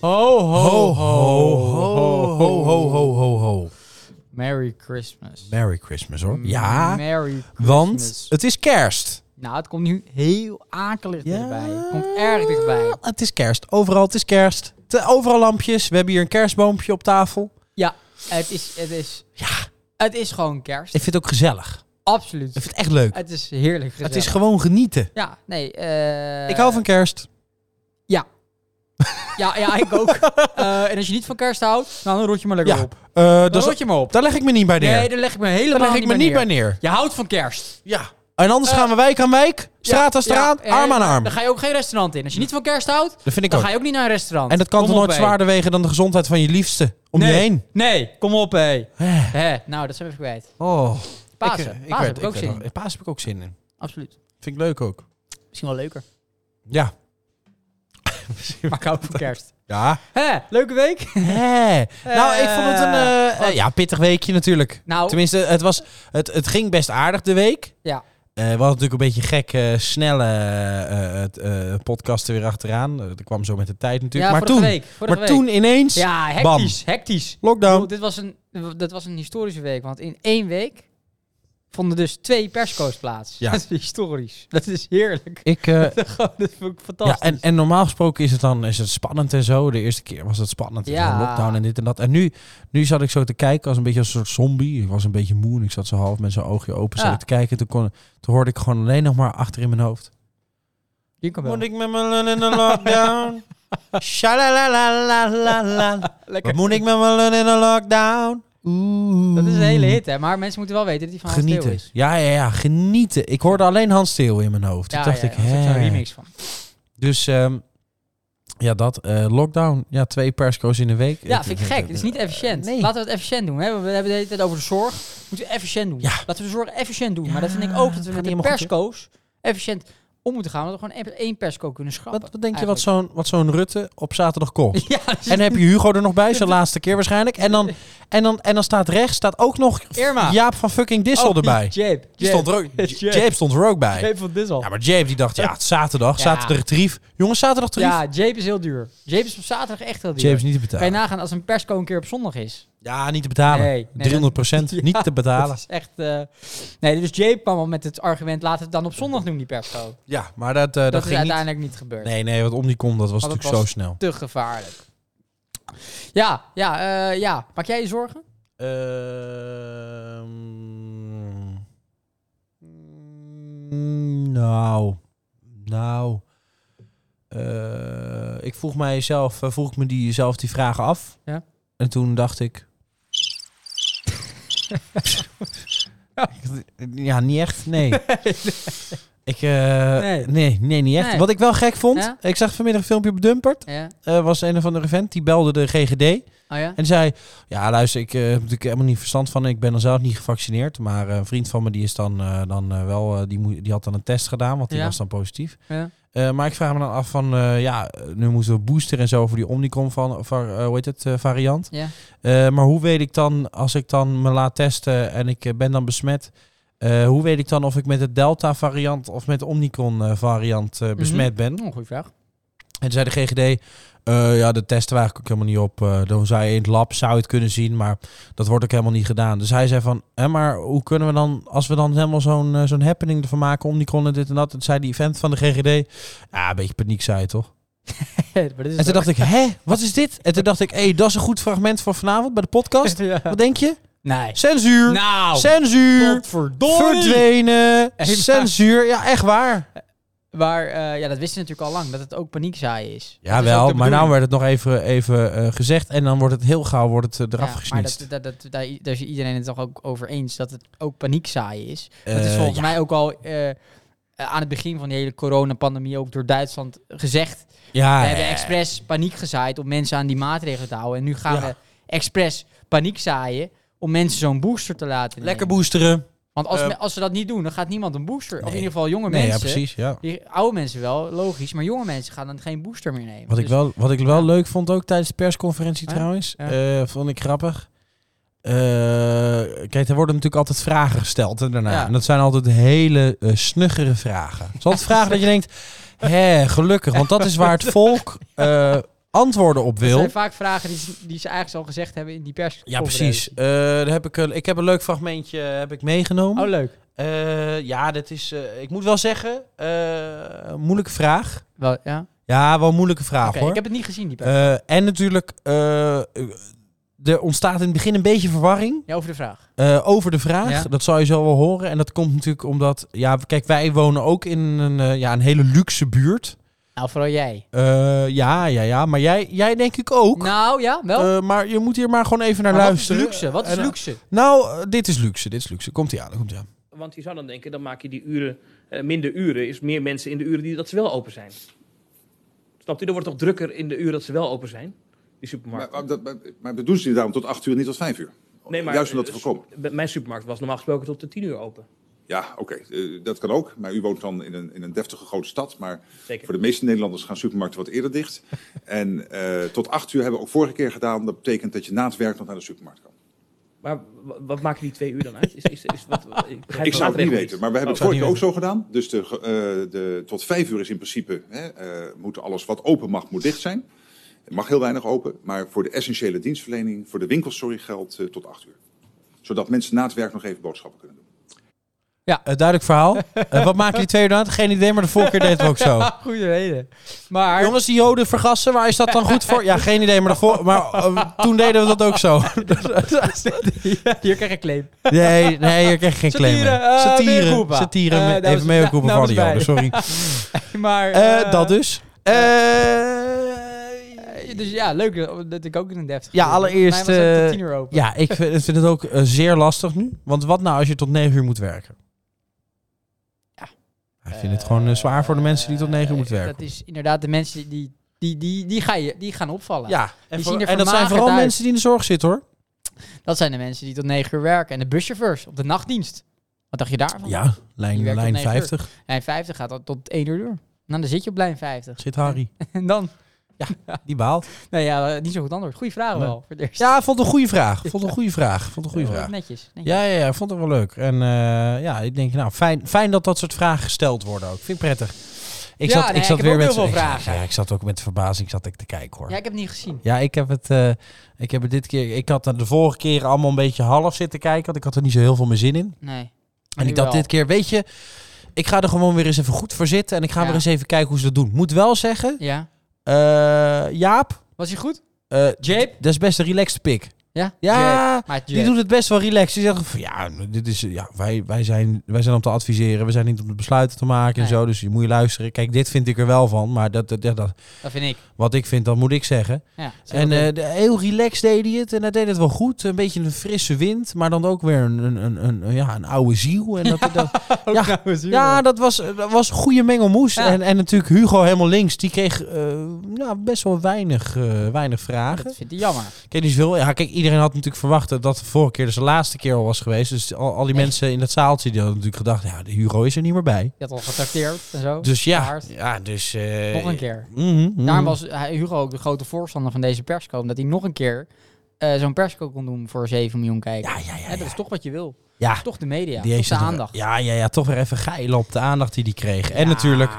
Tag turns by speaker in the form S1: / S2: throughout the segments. S1: Ho,
S2: Ho, ho, ho, ho, ho, ho, ho, ho.
S1: Merry Christmas.
S2: Merry Christmas hoor. Ja,
S1: Merry Christmas.
S2: want het is kerst.
S1: Nou, het komt nu heel akelig
S2: Ja.
S1: dichtbij. Het komt erg dichtbij.
S2: Het is kerst. Overal het is kerst. Te- Overal lampjes. We hebben hier een kerstboompje op tafel.
S1: Ja, het is, het is,
S2: Ja,
S1: het is gewoon kerst.
S2: ik vind het ook gezellig.
S1: Absoluut.
S2: Ik vind het echt leuk.
S1: Het is heerlijk gezellig.
S2: Het is gewoon genieten.
S1: Ja, nee. eh,
S2: Ik hou van kerst.
S1: Ja, ja ik ook. Eh, en als je niet van kerst houdt, nou, dan rot je maar lekker
S2: Ja,
S1: op.
S2: Eh,
S1: Dan
S2: dat
S1: rot
S2: is-
S1: je me op.
S2: daar leg ik me niet bij neer.
S1: Nee, daar leg ik me helemaal
S2: daar leg ik me niet bij neer.
S1: Je houdt van kerst.
S2: Ja. En anders
S1: Eh,
S2: gaan we wijk aan wijk, straat aan
S1: Ja,
S2: straat,
S1: ja,
S2: arm aan arm.
S1: Dan ga je ook geen restaurant in. Als je niet van kerst houdt,
S2: Dat vind ik
S1: dan
S2: ook.
S1: ga je ook niet naar een restaurant.
S2: En dat kan
S1: Kom
S2: toch
S1: op,
S2: nooit
S1: hé.
S2: zwaarder wegen dan de gezondheid van je liefste om
S1: nee.
S2: je heen.
S1: Nee, kom op, hé.
S2: Eh,
S1: Hé, nou, dat zijn we even kwijt.
S2: Oh.
S1: Pasen.
S2: eh,
S1: Pasen
S2: weet-
S1: heb ik ook
S2: weet
S1: zin
S2: wel.
S1: in.
S2: Eh, Pasen heb ik ook zin in.
S1: Absoluut.
S2: Vind ik leuk ook.
S1: Misschien wel leuker.
S2: Ja.
S1: Maar ik hou van kerst.
S2: Ja.
S1: Hé, leuke week.
S2: Hé.
S1: Eh,
S2: Nou, ik vond het een eh, eh, ja, pittig weekje natuurlijk.
S1: Nou,
S2: Tenminste, het, was, het, het ging best aardig de week.
S1: Ja.
S2: Eh, we hadden natuurlijk een beetje gek, eh, snelle eh, eh, eh, podcast er weer achteraan. Eh, dat kwam zo met de tijd
S1: ja,
S2: natuurlijk. maar
S1: vorige
S2: toen,
S1: week. vorige
S2: maar
S1: week.
S2: toen ineens,
S1: Ja, hectisch. Hectisch. Ik
S2: lockdown.
S1: bedoel, dit was een, dat was een historische week, want in één week vonden dus twee persco's plaats.
S2: Ja.
S1: Dat is historisch. Dat is heerlijk.
S2: Ik, eh,
S1: Gewoon, dat vond ik fantastisch.
S2: ja, en, en normaal gesproken is het dan is het spannend en zo. De eerste keer was het spannend. en
S1: Ja.
S2: zo, Lockdown en dit en dat. En nu, nu zat ik zo te kijken als een beetje als een soort zombie. Ik was een beetje moe en ik zat zo half met zo'n oogje open zat
S1: Ja.
S2: ik te kijken. Toen, kon, toen hoorde ik gewoon alleen nog maar achter in mijn hoofd.
S1: Hier kan wel.
S2: Moet ik met mijn lul in de lockdown? Shalalalalala.
S1: Lekker.
S2: Wat moet ik met mijn lul in de lockdown? Oeh.
S1: Dat is een hele hit, hè. Maar mensen moeten wel weten dat die van Hans Theo
S2: Genieten.
S1: is.
S2: Ja, ja, ja, genieten. Ik hoorde alleen Hans Steeuw in mijn hoofd. Toen dacht ik,
S1: daar is ook zo'n
S2: hè.
S1: remix van.
S2: Dus ehm, ja, dat eh, lockdown. Ja, twee persco's in de week.
S1: Ja, vind ik gek. Het is niet efficiënt.
S2: Nee.
S1: Laten we het efficiënt doen. Hè? We hebben de hele tijd over de zorg. Moeten we efficiënt doen.
S2: Ja.
S1: Laten we de zorg efficiënt doen.
S2: Ja,
S1: maar dat vind ik ook dat we
S2: gaat
S1: met
S2: niet
S1: de
S2: helemaal goed,
S1: persco's efficiënt om moeten gaan. Dat we gewoon één persco kunnen schrappen.
S2: Wat, wat denk je wat zo'n, wat zo'n Rutte op zaterdag kost?
S1: eigenlijk. Ja, dat is
S2: En heb je Hugo er nog bij, zijn laatste keer waarschijnlijk. En dan, en dan, en dan staat rechts staat ook nog
S1: Irma.
S2: Jaap van fucking Dissel
S1: Oh,
S2: erbij.
S1: Jape.
S2: Die stond er ook,
S1: Jape.
S2: Jape stond er ook bij.
S1: Jape van Dissel.
S2: Ja, maar Jape die dacht, ja, het is zaterdag,
S1: Ja.
S2: zaterdag retrief. Jongens, zaterdag retrief.
S1: Ja, Jape is heel duur. Jape is op zaterdag echt heel duur.
S2: Jape is niet te
S1: Kan je
S2: betalen.
S1: nagaan als een persco een keer op zondag is?
S2: Ja, niet te betalen.
S1: Nee, nee,
S2: 300
S1: Ja,
S2: niet te betalen.
S1: Dat is echt... eh, Nee, dus Jape kwam al met het argument... laten we het dan op zondag doen, die persco. Dat,
S2: Ja, maar dat, eh, dat,
S1: is
S2: ging niet.
S1: uiteindelijk niet gebeurd.
S2: Nee, nee, wat om die kon, dat was
S1: Want het
S2: natuurlijk zo snel.
S1: Te gevaarlijk. Ja, ja, eh, ja. Maak jij je zorgen?
S2: Ehm, mm, nou, nou. Eh, ik vroeg mijzelf, eh, vroeg ik me die, zelf die vragen af.
S1: Ja.
S2: En toen dacht ik. ja, niet echt. Nee. Ik, eh,
S1: Nee.
S2: nee. nee, niet echt.
S1: Nee.
S2: Wat ik wel gek vond,
S1: Ja?
S2: ik zag vanmiddag een filmpje op Dumpert.
S1: Ja.
S2: Eh was een of andere vent, die belde de GGD.
S1: Oh ja?
S2: En zei, ja luister, ik eh, heb natuurlijk helemaal niet verstand van. Ik ben dan zelf niet gevaccineerd. Maar eh, een vriend van me die is dan, eh, dan eh, wel, eh, die, moe- die had dan een test gedaan, want die
S1: Ja.
S2: was dan positief.
S1: Ja.
S2: Eh, maar ik vraag me dan af van, eh, ja, nu moeten we booster en zo voor die Omicron van, van eh, hoe heet het, eh, variant.
S1: Ja.
S2: Eh, maar hoe weet ik dan, als ik dan me laat testen en ik eh, ben dan besmet, eh, hoe weet ik dan of ik met de Delta variant of met de Omicron eh, variant eh, besmet ben?
S1: Oh, goeie vraag.
S2: En toen zei de GGD, eh, ja, de testen waren ook helemaal niet op. Eh, dan zou je in het lab zou je het kunnen zien, maar dat wordt ook helemaal niet gedaan. Dus hij zei van, hè, maar hoe kunnen we dan, als we dan helemaal zo'n eh, zo'n happening ervan maken, om die konden dit en dat. Toen zei die event van de GGD, ja, een beetje paniek zei je toch?
S1: Dus maar dit is
S2: En toen dacht ik, hè, wat is dit? En toen dacht ik, hé, dat is een goed fragment voor vanavond bij de podcast.
S1: Ja.
S2: Wat denk je?
S1: Nee.
S2: Censuur!
S1: Nou,
S2: Censuur!
S1: godverdorie.
S2: Verdwenen!
S1: maar-
S2: Censuur! Ja, echt waar.
S1: Maar eh, ja, dat wisten we natuurlijk al lang, dat het ook paniekzaai is.
S2: Ja,
S1: Dat is ook
S2: wel,
S1: de
S2: maar nou
S1: bedoeling.
S2: werd het nog even, even eh, gezegd en dan wordt het heel gauw wordt het, eh, eraf
S1: Ja, Maar
S2: gesnitst.
S1: dat, dat, dat, daar, daar is iedereen het toch ook over eens dat het ook paniekzaai is. dat is
S2: Eh,
S1: volgens
S2: ja.
S1: mij ook al eh, eh, aan het begin van die hele coronapandemie ook door Duitsland gezegd.
S2: Ja,
S1: we
S2: Ah, ja, eh,
S1: hebben expres paniek gezaaid om mensen aan die maatregelen te houden. En nu gaan
S2: Ja.
S1: we expres paniek zaaien om mensen zo'n booster te laten nemen.
S2: lekker boosteren.
S1: Want als,
S2: Eh,
S1: me- als ze dat niet doen, dan gaat niemand een booster. Of in
S2: Nee.
S1: ieder geval jonge
S2: Nee, ja,
S1: mensen.
S2: precies. Ja.
S1: Die, oude mensen wel, logisch. Maar jonge mensen gaan dan geen booster meer nemen.
S2: Wat ik
S1: Dus-
S2: wel, wat ik wel leuk vond ook tijdens de persconferentie
S1: Ja,
S2: trouwens,
S1: ja.
S2: eh, vond ik grappig. Eh, kijk, er worden natuurlijk altijd vragen gesteld hè, daarna.
S1: Ja.
S2: En dat zijn altijd hele eh, snuggere vragen. Het is altijd vragen dat je denkt, hè, gelukkig. Want dat is waar het volk eh, antwoorden op
S1: Dat
S2: wil...
S1: zijn vaak vragen die, ze- die ze eigenlijk al gezegd hebben in die pers.
S2: Ja, precies. Eh, daar heb ik, een- ik heb een leuk fragmentje eh, heb ik meegenomen.
S1: Oh, leuk.
S2: Eh, ja, dat is... eh, ik moet wel zeggen, eh, moeilijke vraag.
S1: Wel, ja.
S2: Ja, wel een moeilijke vraag
S1: Oké,
S2: hoor.
S1: ik heb het niet gezien, die pers.
S2: Eh, en natuurlijk, eh, er ontstaat in het begin een beetje verwarring
S1: ja, over de vraag.
S2: eh, over de vraag.
S1: Ja.
S2: Dat zal je zo wel horen. En dat komt natuurlijk omdat, ja, kijk, wij wonen ook in een, eh, ja, een hele luxe buurt.
S1: Nou, vooral jij.
S2: Eh, ja, ja, ja. Maar jij, jij denk ik ook.
S1: Nou, ja, wel.
S2: Eh, maar je moet hier maar gewoon even naar
S1: Maar
S2: luisteren.
S1: Wat is luxe? Wat is
S2: En, eh,
S1: luxe?
S2: Nou, eh, dit is luxe, dit is luxe. Komt ie aan, komt ie aan.
S3: Want je zou dan denken, dan maak je die uren, eh, minder uren, is meer mensen in de uren die dat ze wel open zijn. Snapt u? Er wordt toch drukker in de uren dat ze wel open zijn, die
S4: Maar,
S3: supermarkt.
S4: maar, dat- maar, maar bedoelen jullie daarom tot 8 uur, niet tot 5 uur? Juist om dat te
S3: eh,
S4: voorkomen.
S3: s- bij Mijn supermarkt was normaal gesproken tot de tien uur open.
S4: Ja, oké, eh, dat kan ook. Maar u woont dan in een, in een deftige grote stad. Maar
S3: Zeker.
S4: voor de meeste Nederlanders gaan supermarkten wat eerder dicht. en eh, tot 8 uur hebben we ook vorige keer gedaan. Dat betekent dat je na het werk nog naar de supermarkt kan.
S3: Maar w- wat maken die twee uur dan uit? Is, is, is wat, ik begrijp de
S4: Ik zou het niet
S3: maatregel
S4: weten, maar we hebben het
S2: Oh,
S4: vorige keer
S2: zou
S4: ook
S2: het
S4: zo gedaan. Dus de, ge- eh, de, tot 5 uur is in principe, hè, eh, moet alles wat open mag, moet dicht zijn. Het mag heel weinig open, maar voor de essentiële dienstverlening, voor de winkels, sorry, geldt eh, tot 8 uur. Zodat mensen na het werk nog even boodschappen kunnen doen.
S2: Eh, duidelijk verhaal. Eh, wat maken die twee uur dan? uit? Geen idee, maar de vorige keer deed het ook zo.
S1: Goede reden. Maar
S2: Jongens, die joden vergassen, waar is dat dan goed voor? Ja, geen idee, maar, de vor- maar eh, toen deden we dat ook zo.
S1: hier krijg ik claim.
S2: Nee, nee, je krijgt geen claim. mee.
S1: Satire, eh, mea
S2: Satire,
S1: culpa.
S2: satire
S1: Eh,
S2: me-
S1: dames-
S2: even mee oproepen
S1: da-
S2: voor de
S1: dames bij.
S2: joden, sorry.
S1: Maar,
S2: Eh,
S1: eh,
S2: dat dus.
S1: eh,
S2: Eh,
S1: Dus ja, leuk dat ik ook in een deftige
S2: Ja,
S1: buurt woon.
S2: allereerst,
S1: Volgens mij was het
S2: eh,
S1: tot tien uur open.
S2: ja, ik vind, vind het ook eh, zeer lastig nu. Want wat nou als je tot negen uur moet werken?
S1: Ja.
S2: Ik vind het gewoon eh, zwaar voor de mensen die tot negen uur
S1: Eh,
S2: moeten werken.
S1: Dat is inderdaad de mensen die, die, die, die, ga je, die gaan opvallen.
S2: Ja, en,
S1: Die
S2: voor-
S1: zien er
S2: en dat zijn
S1: vermagerd
S2: vooral
S1: uit.
S2: mensen die in de zorg zitten hoor.
S1: Dat zijn de mensen die tot negen uur werken. En de buschauffeurs op de nachtdienst. Wat dacht je daarvan?
S2: Ja,
S1: Die
S2: lijn,
S1: werkt tot
S2: lijn
S1: negen uur.
S2: 50.
S1: Lijn 50 gaat dan tot 1 uur door. Nou, dan zit je op lijn 50.
S2: Zit Harry.
S1: En dan?
S2: Die baalt.
S1: Nou ja, eh, niet zo goed antwoord. Goeie vraag
S2: Nee.
S1: wel. Voor de eerste.
S2: Ja, vond een goede vraag. Vond een goede vraag. Vond een goede
S1: Eh,
S2: vraag.
S1: Netjes. netjes.
S2: Ja, ja, ja, vond het wel leuk. En eh, ja, ik denk, nou, fijn, fijn dat dat soort vragen gesteld worden ook. Vind ik prettig. Ik
S1: Ja,
S2: zat,
S1: nee,
S2: ik
S1: ik
S2: zat
S1: heb
S2: weer
S1: ook
S2: met
S1: heel veel
S2: ik-
S1: vragen.
S2: Ja, ik zat ook met verbazing zat ik te kijken hoor.
S1: Ja,
S2: Ja,
S1: ik heb het niet gezien.
S2: ik heb het, eh, ik heb het dit keer, ik had er de vorige keer allemaal een beetje half zitten kijken, want ik had er niet zo heel veel meer zin in.
S1: Nee.
S2: En ik dacht dit keer, weet je, ik ga er gewoon weer eens even goed voor zitten en ik ga
S1: Ja.
S2: weer eens even kijken hoe ze dat doen. Moet wel zeggen,
S1: Ja.
S2: eh, Jaap,
S1: Was hij goed?
S2: eh,
S1: Jape?
S2: dat is best een relaxed pick.
S1: Ja. Jape.
S2: Ja,
S1: Maar het
S2: Die
S1: Jape.
S2: doet het best wel relaxed. Die zeggen van ja, dit is, ja wij, wij, zijn, wij zijn om te adviseren. We zijn niet om de besluiten te maken en
S1: Nee.
S2: zo. Dus je moet je luisteren. Kijk, dit vind ik er wel van. Maar dat, dat, ja, dat,
S1: Dat vind ik.
S2: wat ik vind, dat moet ik zeggen.
S1: Ja.
S2: en eh, de- heel relaxed deed hij het. En hij deed het wel goed. Een beetje een frisse wind. Maar dan ook weer een, een, een, een- ja, een oude ziel. En dat, dat, ja,
S1: nou,
S2: ja, dat was, dat was een goede mengelmoes.
S1: Ja.
S2: En, en natuurlijk Hugo helemaal links. Die kreeg eh, nou, best wel weinig, eh, weinig vragen.
S1: dat vind ik jammer.
S2: Kijk, die is veel. Ja, kijk, iedereen had natuurlijk verwacht dat dat de vorige keer dus de laatste keer al was geweest. Dus al, al die
S1: Nee.
S2: mensen in dat zaaltje die hadden natuurlijk gedacht, ja, de Hugo is er niet meer bij.
S1: Je had al getrakteerd en zo.
S2: Dus ja,
S1: Paard.
S2: ja, dus. eh,
S1: Nog een keer.
S2: mhm, mhm.
S1: Daarom was hij- Hugo ook de grote voorstander van deze persco. Omdat hij nog een keer eh, zo'n persco kon doen voor 7 miljoen kijkers.
S2: Ja, ja, ja.
S1: Hè, dat
S2: ja.
S1: is toch wat je wil.
S2: Ja,
S1: Toch de
S2: die
S1: media. toch
S2: heeft
S1: de
S2: het-
S1: aandacht.
S2: Ja, ja, ja, toch weer even geilen op de aandacht die die kreeg. En
S1: Ja.
S2: natuurlijk,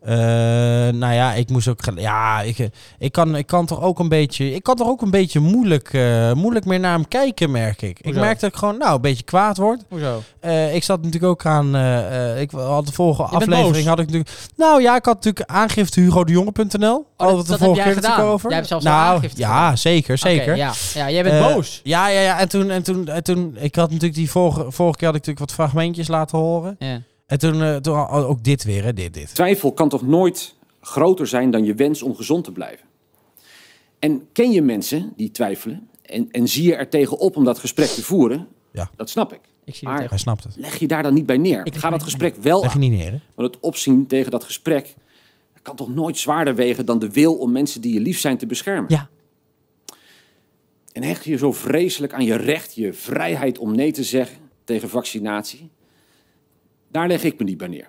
S2: eh, nou ja, ik moest ook. gel- Ja, ik, eh, ik, kan, ik kan toch ook een beetje. Ik kan toch ook een beetje moeilijk, eh, moeilijk meer naar hem kijken, merk ik. Ik
S1: Hoezo?
S2: merk dat ik gewoon, nou, een beetje kwaad word.
S1: Hoezo?
S2: Eh, ik zat natuurlijk ook aan. eh, eh, ik had de vorige
S1: bent boos.
S2: aflevering had ik natuurlijk. Nou ja, ik had natuurlijk aangifte hugodejonge.nl.
S1: Oh, dat-
S2: Hadden we het
S1: dat
S2: de vorige
S1: heb jij
S2: keer natuurlijk
S1: gedaan.
S2: over.
S1: Jij hebt zelfs al
S2: nou,
S1: aangifte
S2: Ja,
S1: gedaan.
S2: zeker, zeker.
S1: Oké, ja. ja, jij bent
S2: Eh,
S1: boos.
S2: Ja, ja, ja. En toen, en toen, en toen, ik had natuurlijk die vorige, vorige keer had ik natuurlijk wat fragmentjes laten horen.
S1: Ja.
S2: En toen, eh, toen al- ook dit weer, hè, dit, dit.
S5: Twijfel kan toch nooit groter zijn dan je wens om gezond te blijven? En ken je mensen die twijfelen en, en zie je er tegen op om dat gesprek te voeren?
S2: Ja.
S5: Dat snap ik.
S1: Ik zie het
S5: Maar
S2: Hij snapt het.
S5: leg je daar dan niet bij neer.
S1: Ik leg
S5: Ga
S1: mij
S5: dat gesprek wel
S2: Leg je
S5: aan.
S2: niet neer, hè?
S5: Want het opzien tegen dat gesprek kan toch nooit zwaarder wegen dan de wil om mensen die je lief zijn te beschermen.
S1: Ja.
S5: En hecht je zo vreselijk aan je recht, je vrijheid om nee te zeggen tegen vaccinatie? Daar leg ik me niet bij neer.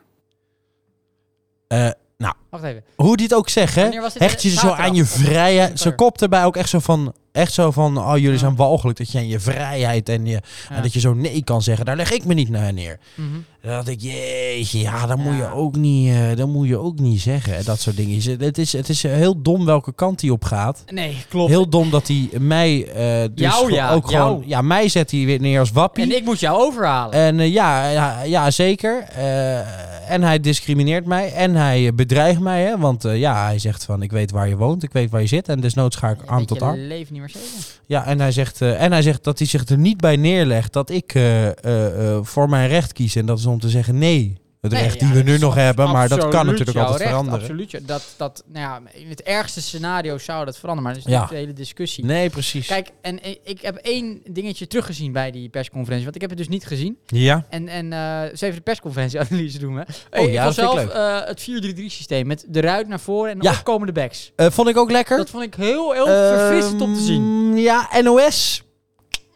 S2: Eh, Nou.
S1: Wacht even.
S2: Hoe die het ook zegt, hè?
S1: Wanneer was dit?
S2: Hecht je ze zo
S1: Zaterdag
S2: aan je
S1: of
S2: vrijheid.
S1: zondag?
S2: Ze kopt erbij ook echt zo van, echt zo van oh, jullie
S1: Ja.
S2: zijn walgelijk dat je aan je vrijheid en, je,
S1: Ja.
S2: en dat je zo nee kan zeggen. Daar leg ik me niet naar neer.
S1: Mhm.
S2: Dan dacht ik, jeetje, ja, dat moet, je
S1: Ja.
S2: ook niet, eh, dat moet je ook niet zeggen. Dat soort dingen. Ze- Het is, het is heel dom welke kant die op gaat.
S1: Nee, klopt.
S2: Heel dom dat hij mij eh, dus
S1: Jou,
S2: gewoon-
S1: ja,
S2: ook
S1: jou.
S2: gewoon... Ja, mij zet hij weer neer als wappie.
S1: En ik moet jou overhalen.
S2: En eh, ja, ja, ja, zeker. Eh, en hij discrimineert mij. En hij eh, bedreigt mij. Hè? Want eh, ja, hij zegt van ik weet waar je woont. Ik weet waar je zit. En desnoods ga ik
S1: Je
S2: arm
S1: weet
S2: tot
S1: je
S2: arm.
S1: leven niet meer zeker.
S2: Ja, en hij, zegt, eh, en hij zegt dat hij zich er niet bij neerlegt dat ik eh, eh, eh, voor mijn recht kies. En dat is om te zeggen nee. Het
S1: Nee,
S2: recht
S1: ja,
S2: die we
S1: dat
S2: nu
S1: is
S2: nog hebben. Maar dat kan
S1: Absoluut
S2: natuurlijk
S1: jouw
S2: altijd
S1: recht,
S2: veranderen.
S1: Absoluut. ja. Dat, dat, nou ja, in het ergste scenario zou dat veranderen. Maar dat is
S2: Ja.
S1: natuurlijk de hele discussie.
S2: Nee, precies.
S1: Kijk, en i- ik heb één dingetje teruggezien bij die persconferentie. Want ik heb het dus niet gezien.
S2: Ja.
S1: En, en eh ze even de persconferentieanalyse doen. Hè.
S2: Oh, ja, dat vind ik
S1: zelf
S2: leuk.
S1: eh, het 4-3-3-systeem met de ruit naar voren en de
S2: Ja.
S1: opkomende backs.
S2: Eh, vond ik ook lekker.
S1: Dat vond ik heel, heel verfrissend om te zien. Mm,
S2: Ehm, Ja, NOS.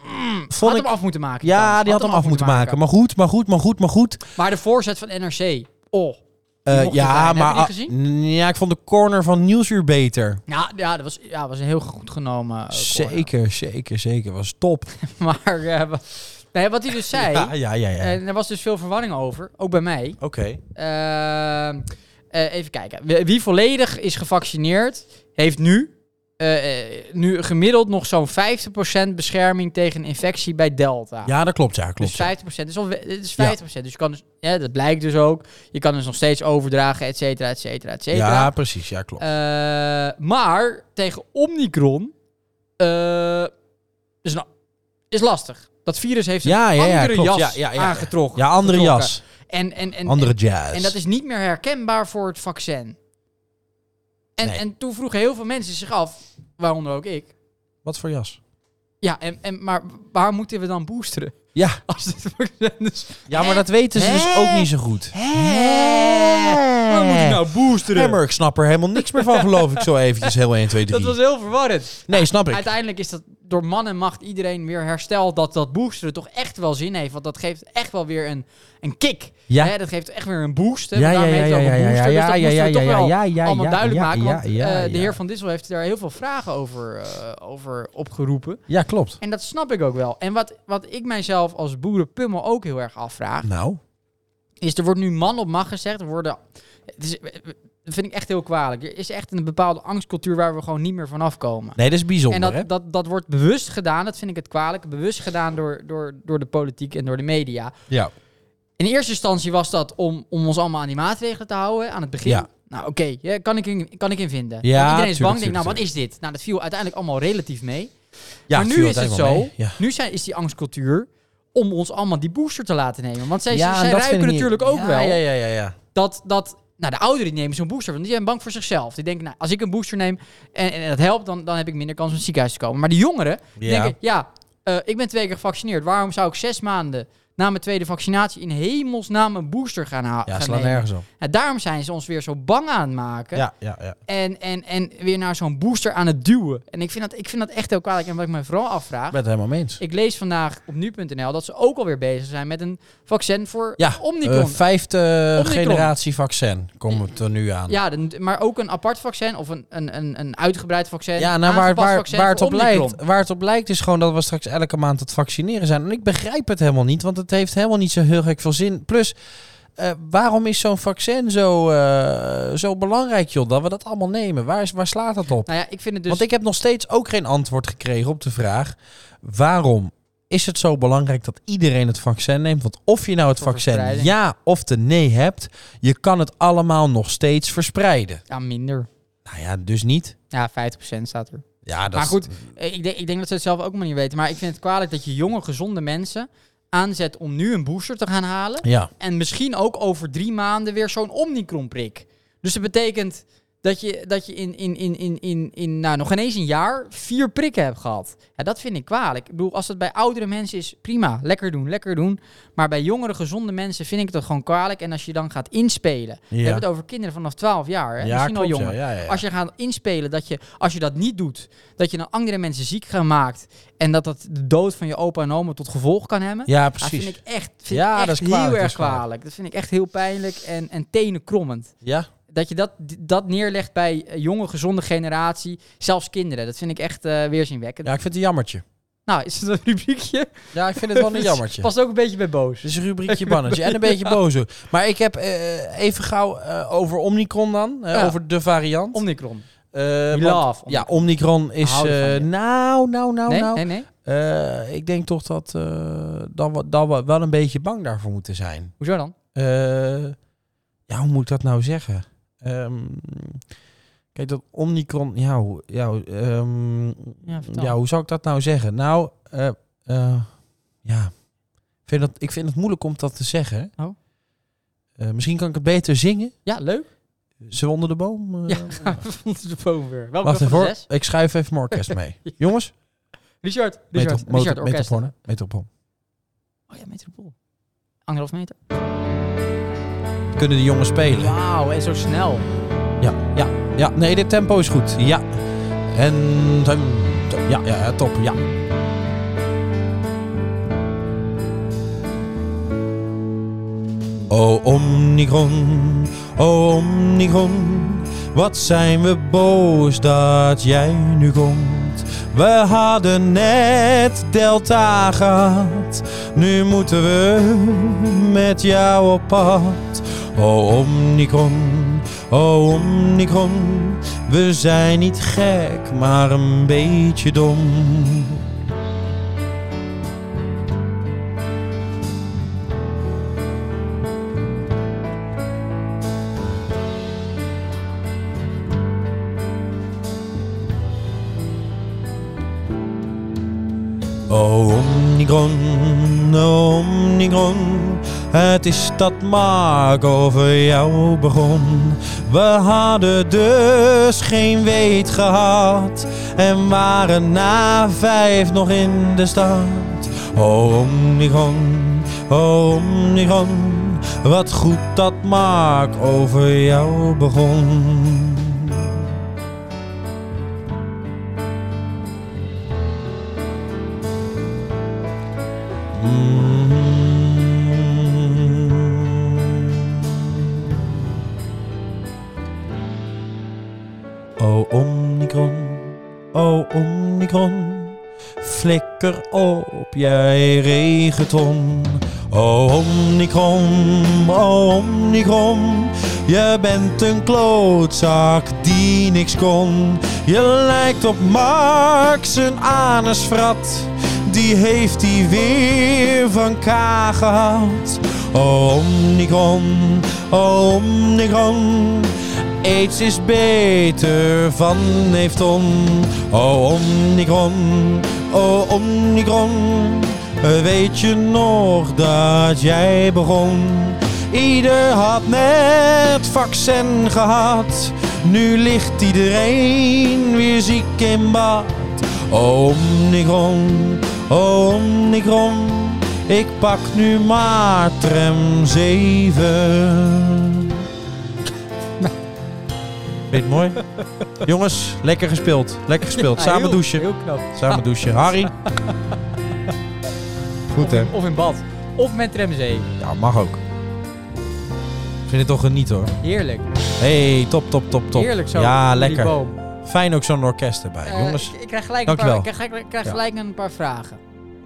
S1: Had
S2: Vond
S1: hem
S2: ik...
S1: af moeten maken.
S2: Ja,
S1: trouwens.
S2: die had hem af moeten maken.
S1: Maar,
S2: Maar goed, maar goed, maar goed, maar goed.
S1: de voorzet van NRC. Oh.
S2: Eh,
S1: Die mocht
S2: ja,
S1: erbij. Heb je
S2: maar
S1: die
S2: ah,
S1: gezien?
S2: n- ja, ik vond de corner van Nieuwsuur beter.
S1: Nou, ja, dat was, ja, was een heel goed genomen. eh, corner.
S2: Zeker, zeker, zeker. Was top.
S1: Maar eh, wa- nee, wat hij dus zei,
S2: Ja, ja, ja. ja.
S1: en er was dus veel verwarring over, ook bij mij.
S2: Oké.
S1: Ehm, eh, even kijken. Wie- Wie volledig is gevaccineerd, heeft nu, eh, eh, nu gemiddeld nog zo'n 50% bescherming tegen infectie bij Delta.
S2: Ja, dat klopt, ja, klopt.
S1: Dus
S2: ja.
S1: 50%. Dus al, we- het is 50%. Dus je kan dus, ja, dat blijkt dus ook. Je kan dus nog steeds overdragen, et cetera, et cetera, et cetera.
S2: Ja, precies, ja, klopt.
S1: Eh, maar tegen Omicron eh, is, een- is lastig. Dat virus heeft een
S2: Ja, ja, ja,
S1: andere
S2: klopt.
S1: jas
S2: Ja, ja, ja, ja.
S1: aangetrokken.
S2: ja, andere
S1: getrokken.
S2: jas.
S1: En, en, en,
S2: Andere
S1: en,
S2: jazz.
S1: en dat is niet meer herkenbaar voor het vaccin. En,
S2: Nee.
S1: en toen vroegen heel veel mensen zich af, waaronder ook ik.
S2: Wat voor jas?
S1: Ja, en, en, maar waar moeten we dan boosteren?
S2: Ja.
S1: Als het vaccin is.
S2: Ja, maar dat weten ze dus
S1: Hè?
S2: ook niet zo goed.
S1: Waar moet je nou boosteren?
S2: Nee, maar ik snap er helemaal niks meer van, geloof ik zo eventjes. Heel 1, 2, 3.
S1: Dat was heel verwarrend.
S2: Nee, snap ik.
S1: Uiteindelijk is dat door man en macht iedereen weer hersteld dat dat boosteren toch echt wel zin heeft. Want dat geeft echt wel weer een, een kick.
S2: Ja.
S1: Hè, dus dat geeft echt weer een boost. Hè?
S2: Ja,
S1: want
S2: ja,
S1: daarom
S2: ja,
S1: heet het
S2: ja,
S1: ook een
S2: ja,
S1: booster.
S2: ja,
S1: dus dat
S2: ja,
S1: moest
S2: ja,
S1: toch
S2: ja,
S1: wel
S2: ja, ja,
S1: allemaal
S2: ja,
S1: duidelijk
S2: ja,
S1: maken.
S2: ja,
S1: Want
S2: ja,
S1: eh, de
S2: ja.
S1: heer Van Dissel heeft daar heel veel vragen over, eh, over opgeroepen.
S2: Ja, klopt.
S1: En dat snap ik ook wel. En wat, wat ik mijzelf als boerenpummel ook heel erg afvraag,
S2: Nou,
S1: is er wordt nu man op macht gezegd. Er worden, het is, dat vind ik echt heel kwalijk. Er is echt een bepaalde angstcultuur waar we gewoon niet meer vanaf komen.
S2: nee, dat is bijzonder,
S1: En
S2: hè?
S1: dat, dat, dat wordt bewust gedaan, dat vind ik het kwalijk, bewust gedaan door, door, door de politiek en door de media.
S2: Ja.
S1: In eerste instantie was dat om, om ons allemaal aan die maatregelen te houden aan het begin.
S2: Ja.
S1: Nou oké, ja, kan, ik in- kan ik in vinden.
S2: Ja,
S1: Want iedereen is
S2: tuurlijk,
S1: bang, denkt nou
S2: tuurlijk,
S1: wat is dit? Nou dat viel uiteindelijk allemaal relatief mee.
S2: ja
S1: maar
S2: ik
S1: nu
S2: viel
S1: is het
S2: uiteindelijk wel
S1: zo,
S2: mee. Ja.
S1: nu zijn, is die angstcultuur om ons allemaal die booster te laten nemen. Want zij,
S2: Ja, en
S1: zij
S2: dat vind
S1: ruiken
S2: ik niet-
S1: natuurlijk ook
S2: Ja,
S1: wel
S2: Ja, ja, ja, ja.
S1: dat, dat nou, de ouderen die nemen zo'n booster, want die zijn bang voor zichzelf. Die denken, nou, als ik een booster neem en, en dat helpt, dan, dan heb ik minder kans om in het ziekenhuis te komen. Maar die jongeren die
S2: Ja.
S1: denken, ja, eh, ik ben twee keer gevaccineerd. Waarom zou ik zes maanden na mijn tweede vaccinatie in hemelsnaam een booster gaan halen?
S2: Ja, slaat nergens op.
S1: daarom zijn ze ons weer zo bang aan het maken.
S2: Ja, ja, ja.
S1: En, en, en weer naar zo'n booster aan het duwen. En ik vind, dat, ik vind dat echt heel kwalijk. En wat ik me vooral afvraag...
S2: Ik ben het helemaal mee eens.
S1: Ik lees vandaag op nu.nl dat ze ook alweer bezig zijn met een vaccin voor
S2: Ja,
S1: Omicron.
S2: eh, vijfde
S1: Omicron.
S2: generatie vaccin komt het er nu aan.
S1: Ja, de- maar ook een apart vaccin of een, een, een, een uitgebreid vaccin.
S2: Ja, nou, waar,
S1: aangepast
S2: waar,
S1: vaccin
S2: waar, het
S1: voor
S2: op
S1: Omicron.
S2: lijkt, waar het op lijkt is gewoon dat we straks elke maand het vaccineren zijn. En ik begrijp het helemaal niet, want het heeft helemaal niet zo heel gek veel zin. Plus, eh, waarom is zo'n vaccin zo, eh, zo belangrijk, joh, dat we dat allemaal nemen? Waar, is, waar slaat dat op?
S1: Nou ja, ik vind het dus...
S2: Want ik heb nog steeds ook geen antwoord gekregen op de vraag... waarom is het zo belangrijk dat iedereen het vaccin neemt? Want of je nou het
S1: Voor
S2: vaccin
S1: verspreiding.
S2: ja of de nee hebt... je kan het allemaal nog steeds verspreiden.
S1: Ja, minder.
S2: Nou ja, dus niet.
S1: Ja, 50% staat er.
S2: Ja, dat
S1: maar
S2: is-
S1: goed, eh, ik denk, ik denk dat ze het zelf ook maar niet weten. Maar ik vind het kwalijk dat je jonge, gezonde mensen aanzet om nu een booster te gaan halen.
S2: Ja,
S1: En misschien ook over drie maanden weer zo'n Omicron-prik. Dus dat betekent dat je, dat je in, in, in, in, in, in nou, nog ineens een jaar vier prikken hebt gehad. Ja, dat vind ik kwalijk. Ik bedoel, als dat bij oudere mensen is, prima. Lekker doen, lekker doen. Maar bij jongere, gezonde mensen vind ik dat gewoon kwalijk. En als je dan gaat inspelen. We
S2: Ja.
S1: hebben het over kinderen vanaf 12 jaar. Hè?
S2: Ja,
S1: misschien al
S2: klopt,
S1: jonger.
S2: ja, ja, ja, ja.
S1: Als je gaat inspelen dat je, als je dat niet doet, dat je dan andere mensen ziek gaat maakt. En dat dat de dood van je opa en oma tot gevolg kan hebben.
S2: ja
S1: Ja,
S2: precies.
S1: vind ik echt, vind
S2: Ja,
S1: ik echt
S2: dat is kwalijk,
S1: heel
S2: dat
S1: erg
S2: is kwalijk.
S1: kwalijk. Dat vind ik echt heel pijnlijk en, en tenenkrommend.
S2: Ja,
S1: dat je dat, dat neerlegt bij eh, jonge, gezonde generatie, zelfs kinderen. Dat vind ik echt eh, weerzinwekkend.
S2: Ja, ik vind het een jammertje.
S1: Nou, is het een rubriekje?
S2: Ja, ik vind het
S1: Dus
S2: wel een jammertje. Dus-
S1: Past ook een beetje bij boos.
S2: Het is een rubriekje bannetje en een beetje boos. ook. Maar ik heb eh, even gauw eh, over Omnicron dan. eh,
S1: Ja.
S2: Over de variant.
S1: Omnicron.
S2: Eh,
S1: We
S2: want-
S1: love
S2: Ja, Omnicron is...
S1: Houden van
S2: eh,
S1: je.
S2: nou, nou, nou,
S1: Nee,
S2: nou.
S1: nee, nee.
S2: Eh, ik denk toch dat, eh, dat, we, dat we wel een beetje bang daarvoor moeten zijn.
S1: Hoezo dan?
S2: Eh, ja, hoe moet ik dat nou zeggen? Ehm, kijk, dat Omnicron... Ja, hoe- ja, hoe- ehm,
S1: Ja, vertel.
S2: ja, hoe zou ik dat nou zeggen? Nou, eh, eh, ja. Ik vind, dat, ik vind het moeilijk om dat te zeggen.
S1: Oh.
S2: Eh, misschien kan ik het beter zingen.
S1: Ja, leuk.
S2: Ze onder de boom. eh.
S1: Ja, vond de boom weer. Welke
S2: Wacht
S1: van
S2: even
S1: de
S2: hoor.
S1: zes?
S2: Ik schuif even mijn orkest mee. Jongens,
S1: Richard,
S2: metro-
S1: Richard, Richard,
S2: motor-
S1: orkest.
S2: metropool, hè? Metropool.
S1: Oh ja, metropool. Anderhalf meter.
S2: Kunnen de jongens spelen?
S1: Wauw, en zo snel.
S2: Ja, ja, ja. Nee, dit tempo is goed. Ja. En... tem- tem- Ja, ja, ja, top. Ja. O Omnicron, o Omnicron, wat zijn we boos dat jij nu komt. We hadden net Delta gehad, nu moeten we met jou op pad. O Omnicron, o Omnicron, we zijn niet gek, maar een beetje dom. O Omnicron, o Omnicron, oh, het is dat Mark over jou begon. We hadden dus geen weet gehad en waren na vijf nog in de stad. Oh, O Omnicron, o Omnicron, wat goed dat Mark over jou begon. O Omnicron, o Omnicron, flikker op jij regenton. O Omnicron, o Omnicron, je bent een klootzak die niks kon. Je lijkt op Marx een anusfrat, die heeft hij weer van K gehad. O Omnicron, o Omnicron. Aids is beter van Oh, Nefton. O Omnicron, o Omnicron. oh, Weet je nog dat jij begon? Ieder had net vaccin gehad. Nu ligt iedereen weer ziek in bad. O Omnicron, o Omnicron. Ik pak nu maar tram 7. Vind je het mooi? Jongens, lekker gespeeld. Lekker gespeeld.
S1: Ja,
S2: Samen
S1: Nou, heel-
S2: douchen.
S1: Heel knap.
S2: Samen douchen. Harry. Goed hè?
S1: Of in bad. Of met tramzee.
S2: Ja, mag ook. Ik vind het toch geniet hoor.
S1: Heerlijk.
S2: hey, top, top, top, top.
S1: Heerlijk zo.
S2: Ja,
S1: onder die
S2: lekker.
S1: boom.
S2: Fijn ook zo'n orkest erbij.
S1: Eh,
S2: Jongens.
S1: ik, ik krijg gelijk, een
S2: dank
S1: paar,
S2: wel.
S1: ik krijg, ik krijg
S2: Ja.
S1: gelijk een paar vragen.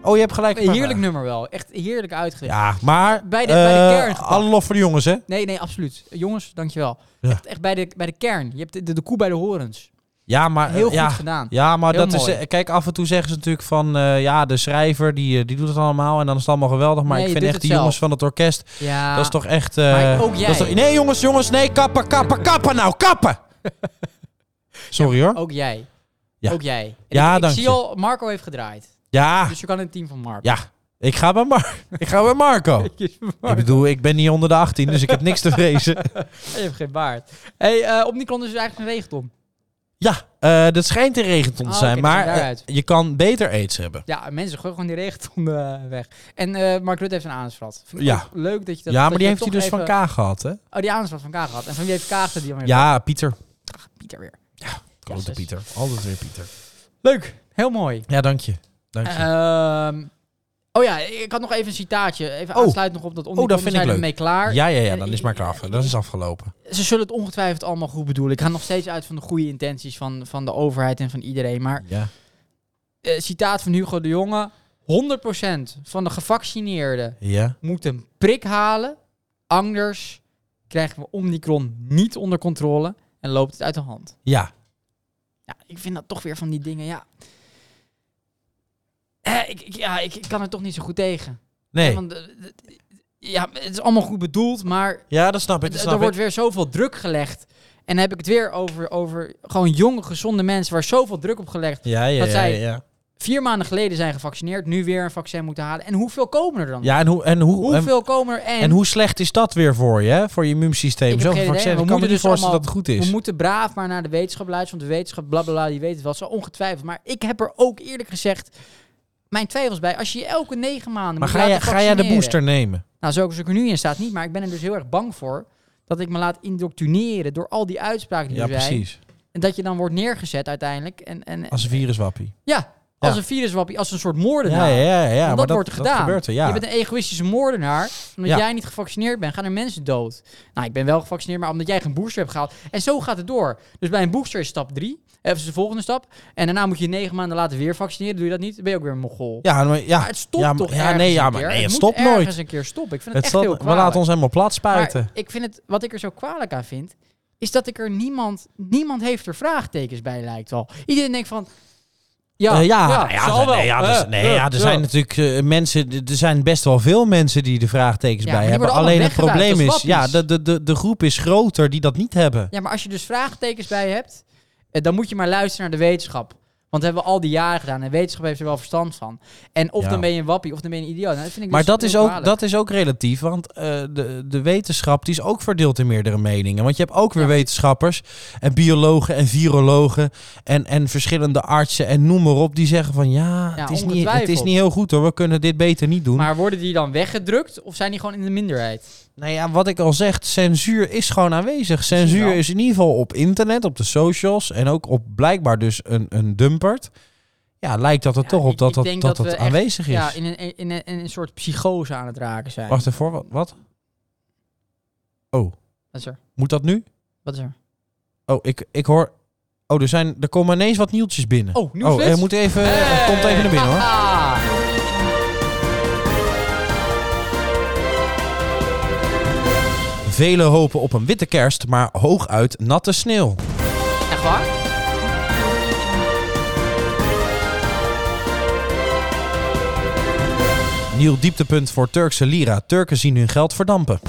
S2: Oh, je hebt gelijk.
S1: Een
S2: een paar
S1: heerlijk
S2: vragen.
S1: nummer wel. Echt heerlijk uitgelegd.
S2: Ja, maar...
S1: Bij de- bij de
S2: eh,
S1: kern gepakt.
S2: Alle lof voor de jongens hè?
S1: Nee, nee, absoluut. Jongens, dankjewel.
S2: Ja.
S1: Echt, echt bij, de, bij de kern. Je hebt de, de, de koe bij de horens.
S2: Ja, maar... eh,
S1: Heel goed
S2: ja.
S1: gedaan.
S2: Ja, maar
S1: Heel
S2: dat is.
S1: mooi.
S2: eh, Kijk, af en toe zeggen ze natuurlijk van. eh, ja, de schrijver die, eh, die doet het allemaal. En dan is het allemaal geweldig. Maar
S1: Nee,
S2: ik
S1: je
S2: vind echt
S1: doet het
S2: die
S1: zelf.
S2: jongens van het orkest.
S1: Ja.
S2: Dat is toch echt... eh,
S1: Maar ook
S2: dat
S1: jij.
S2: is toch- nee, jongens, jongens. Nee, kappen, kappen, kappen nou. Kappen! Sorry hoor.
S1: Ook jij.
S2: Ja.
S1: Ook jij. En
S2: Ja,
S1: ik, ik
S2: dank
S1: zie
S2: je.
S1: al, Marco heeft gedraaid.
S2: Ja,
S1: Dus je kan in het team van Marco.
S2: ja. Ik ga bij, Mar ik ga bij Marco. Ik bedoel, ik ben niet onder de 18, dus ik heb niks te vrezen.
S1: Je hebt geen baard. Hey, eh, Omnicron is dus eigenlijk een regenton.
S2: Ja, eh, dat schijnt een regenton te
S1: Ah,
S2: zijn.
S1: oké, dat
S2: maar
S1: is
S2: eh,
S1: daaruit.
S2: je kan beter aids hebben.
S1: Ja, mensen gooien gewoon die regenton eh, weg. En eh, Mark Rutte heeft een aanusvrat. Vind ik
S2: Ja.
S1: ook Leuk dat je dat...
S2: ja, maar
S1: dat
S2: die
S1: je
S2: heeft hij
S1: toch
S2: dus
S1: even-
S2: van K gehad, hè?
S1: Oh, die aanslag van Kaag gehad. En van wie heeft Kaag die dan
S2: Ja, Pieter.
S1: Ach, Pieter weer.
S2: Grote
S1: Jezus.
S2: Pieter. Altijd weer Pieter.
S1: Leuk, heel mooi.
S2: Ja, dank je. Dank je.
S1: Ehm, Oh ja, ik had nog even een citaatje. Even
S2: Oh.
S1: aansluit nog op dat
S2: vind
S1: Omnicom. We
S2: ik
S1: zijn
S2: leuk.
S1: ermee klaar.
S2: Ja, ja, ja,
S1: En
S2: dan
S1: ik-
S2: is maar klaar. Dat is afgelopen.
S1: Ze zullen het ongetwijfeld allemaal goed bedoelen. Ik ga nog steeds uit van de goede intenties van, van de overheid en van iedereen. Maar
S2: Ja.
S1: eh, citaat van Hugo de Jonge. 100% van de gevaccineerden
S2: Ja.
S1: moet een prik halen. Anders krijgen we Omicron niet onder controle en loopt het uit de hand.
S2: Ja.
S1: Ja, ik vind dat toch weer van die dingen, ja. Eh, ik, ik- ja, ik, ik kan er toch niet zo goed tegen.
S2: Nee.
S1: Want, eh, d- ja, het is allemaal goed bedoeld, maar
S2: Ja, dat snap ik. Dat
S1: d-
S2: snap
S1: er
S2: ik.
S1: wordt weer zoveel druk gelegd. En dan heb ik het weer over, over gewoon jonge, gezonde mensen waar zoveel druk op gelegd.
S2: Ja, ja,
S1: dat
S2: ja,
S1: zij-
S2: ja, ja.
S1: Vier maanden geleden zijn gevaccineerd, nu weer een vaccin moeten halen. En hoeveel komen er dan?
S2: Ja, en hoe, en hoe, en-
S1: hoeveel komen er? En,
S2: En hoe slecht is dat weer voor je, hè? voor je immuunsysteem?
S1: Ik heb
S2: Zo'n
S1: geen idee.
S2: vaccin.
S1: We
S2: Ik kan me
S1: moeten
S2: niet
S1: dus
S2: voorstellen dat
S1: allemaal-
S2: het goed
S1: We
S2: is.
S1: moeten braaf maar naar de wetenschap luisteren. Want de wetenschap, blablabla, die weet het wel. Zo ongetwijfeld. Maar ik heb er ook eerlijk gezegd mijn twijfels bij. Als je je elke negen maanden
S2: Maar
S1: moet
S2: ga jij,
S1: laten
S2: ga jij de
S1: vaccineren-
S2: booster nemen?
S1: Nou, zoals ik er nu in staat niet. Maar ik ben er dus heel erg bang voor dat ik me laat indoctrineren door al die uitspraken die
S2: Ja,
S1: er zijn.
S2: precies.
S1: En dat je dan wordt neergezet uiteindelijk. En, en,
S2: Als een viruswappie.
S1: ja, als
S2: Ja.
S1: een viruswappie, als een soort
S2: Ja,
S1: moordenaar.
S2: ja, ja. ja.
S1: Want
S2: maar
S1: dat, wordt er gedaan.
S2: gebeurt er, ja.
S1: Je bent een egoïstische moordenaar. Omdat
S2: Ja.
S1: jij niet gevaccineerd bent, gaan er mensen dood. Nou, ik ben wel gevaccineerd, maar omdat jij geen booster hebt gehaald. En zo gaat het door. Dus bij een booster is stap drie. Even de volgende stap. En daarna moet je negen maanden later weer vaccineren. Doe je dat niet, dan ben je ook weer een mogol.
S2: Ja, maar, ja.
S1: Maar het stopt
S2: ja, maar- ja,
S1: toch
S2: nee,
S1: ergens
S2: ja,
S1: een
S2: maar
S1: keer.
S2: nee, het
S1: moet
S2: stopt nooit.
S1: ergens een keer stoppen. Ik vind het,
S2: Het
S1: echt
S2: stopt-
S1: heel
S2: we
S1: kwalijk.
S2: laten ons helemaal plat spuiten.
S1: maar ik vind het, wat ik er zo kwalijk aan vind, is dat ik er niemand, niemand heeft er vraagtekens bij lijkt wel. Iedereen denkt van, ja,
S2: Eh, ja,
S1: ja,
S2: nou ja,
S1: zal wel.
S2: nee, ja, dus-
S1: Eh,
S2: nee,
S1: eh,
S2: ja, er
S1: eh.
S2: zijn natuurlijk eh, mensen, d- er zijn best wel veel mensen die de vraagtekens
S1: Ja, maar
S2: bij
S1: die
S2: hebben.
S1: worden
S2: Alleen
S1: allemaal
S2: het
S1: weggeduwd
S2: probleem is,
S1: als
S2: ja,
S1: wappies.
S2: de, de, de, de groep is groter die dat niet hebben.
S1: Ja, maar als je dus vraagtekens bij hebt, eh, dan moet je maar luisteren naar de wetenschap. Want dat hebben we al die jaren gedaan en wetenschap heeft er wel verstand van. En of
S2: Ja.
S1: dan ben je een wappie of dan ben je een idioot. Nou, dat vind ik
S2: Maar
S1: dus
S2: dat is,
S1: heel
S2: ook,
S1: kwalijk.
S2: dat is ook relatief, want eh, de, de wetenschap die is ook verdeeld in meerdere meningen. Want je hebt ook weer wetenschappers en biologen en virologen en, en verschillende artsen en noem maar op. Die zeggen van ja, het, is niet, het is
S1: ongetwijfeld.
S2: niet heel goed hoor, we kunnen dit beter niet doen.
S1: Maar worden die dan weggedrukt of zijn die gewoon in de minderheid?
S2: Nou ja, wat ik al zeg, censuur is gewoon aanwezig.
S1: wel.
S2: Censuur is in ieder geval op internet, op de socials en ook op blijkbaar dus een, een dumpert. Ja, lijkt dat er
S1: Ja,
S2: toch
S1: ik-
S2: op dat
S1: ik
S2: dat,
S1: denk
S2: dat,
S1: dat
S2: dat
S1: we echt-
S2: aanwezig is.
S1: Ja, in een, in, een, in een soort psychose aan het raken zijn.
S2: Wacht even, wat, wat? Oh,
S1: Wat is er?
S2: moet dat nu?
S1: Wat is er?
S2: Oh, ik, ik hoor... Oh, er, zijn, er komen ineens wat nieuwtjes binnen.
S1: Oh, nieuwsflits?
S2: eh, moet even,
S1: Hey!
S2: komt even naar binnen hoor.
S1: Haha.
S2: Velen hopen op een witte kerst, maar hooguit natte sneeuw.
S1: Echt waar?
S2: Nieuw dieptepunt voor Turkse lira. Turken zien hun geld verdampen.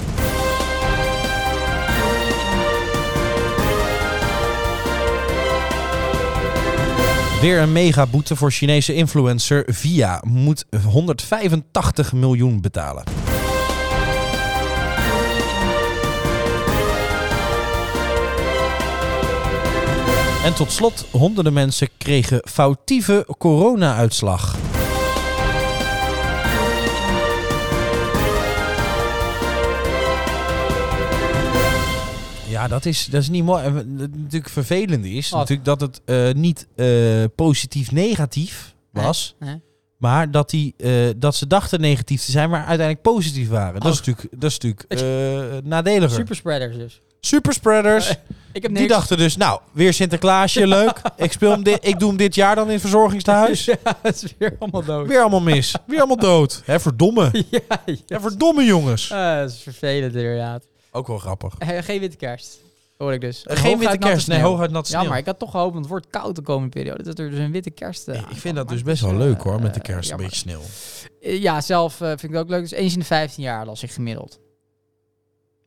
S2: Weer een megaboete voor Chinese influencer Via moet 185 miljoen betalen. En tot slot, honderden mensen kregen foutieve corona-uitslag. Ja, dat is, dat is niet mooi. En wat natuurlijk vervelend is
S1: Wat?
S2: natuurlijk dat het eh, niet eh, positief-negatief was.
S1: Nee.
S2: Maar dat, die, eh, dat ze dachten negatief te zijn, maar uiteindelijk positief waren. Dat is
S1: Oh.
S2: natuurlijk, dat is natuurlijk eh, nadeliger.
S1: Superspreaders dus.
S2: Superspreaders.
S1: Ik heb niks.
S2: Die dachten dus, nou, weer Sinterklaasje, leuk. Ik, speel hem dit, ik doe hem dit jaar dan in het verzorgingstehuis.
S1: Ja, het is weer allemaal dood.
S2: Weer allemaal mis. Weer allemaal dood. Hè, verdomme.
S1: Ja, ja.
S2: Hè, verdomme jongens.
S1: Eh, dat is vervelend inderdaad.
S2: Ook wel grappig.
S1: Eh, geen witte kerst. Hoor ik dus.
S2: Eh, Geen witte
S1: Hooguit natte
S2: kerst. Nee,
S1: sneeuw.
S2: hooguit nat sneeuw.
S1: Ja, maar ik had toch gehoopt, want het wordt koud de komende periode, dat er dus een witte kerst eh,
S2: Nee, ik
S1: aankwam.
S2: vind dat
S1: Maar
S2: dus
S1: het
S2: best
S1: is,
S2: wel
S1: eh,
S2: leuk hoor, met de
S1: eh,
S2: kerst. Een
S1: jammer.
S2: beetje sneeuw.
S1: Eh, Ja, zelf eh, vind ik het ook leuk. Dus eens in de 15 jaar las ik gemiddeld.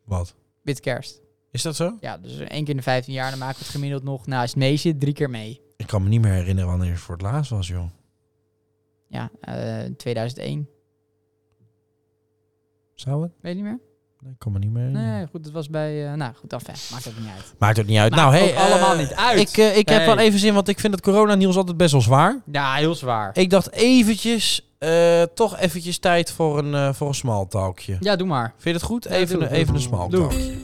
S2: Wat?
S1: Witte kerst.
S2: Is dat zo?
S1: Ja, dus één keer in de 15 jaar, dan maken we het gemiddeld nog. Nou, als het mee zit, drie keer mee.
S2: Ik kan me niet meer herinneren wanneer het voor het laatst was, joh.
S1: Ja, eh 2001.
S2: Zou het?
S1: Weet je niet meer?
S2: Nee, ik kan me niet meer herinneren.
S1: Nee, goed, dat was bij... eh, nou, goed, dan Maakt ook niet uit.
S2: Maakt ook niet uit.
S1: Maakt
S2: nou, hey,
S1: ook
S2: eh,
S1: allemaal niet uit.
S2: Ik, eh, ik heb
S1: Nee.
S2: wel even zin, want ik vind het coronanieuws altijd best wel zwaar.
S1: Ja, heel zwaar.
S2: Ik dacht eventjes, eh, toch eventjes tijd voor een, eh voor een small talkje.
S1: Ja, doe maar.
S2: Vind je het goed?
S1: Ja,
S2: Even,
S1: doe.
S2: een- even een small
S1: Doe.
S2: talkje.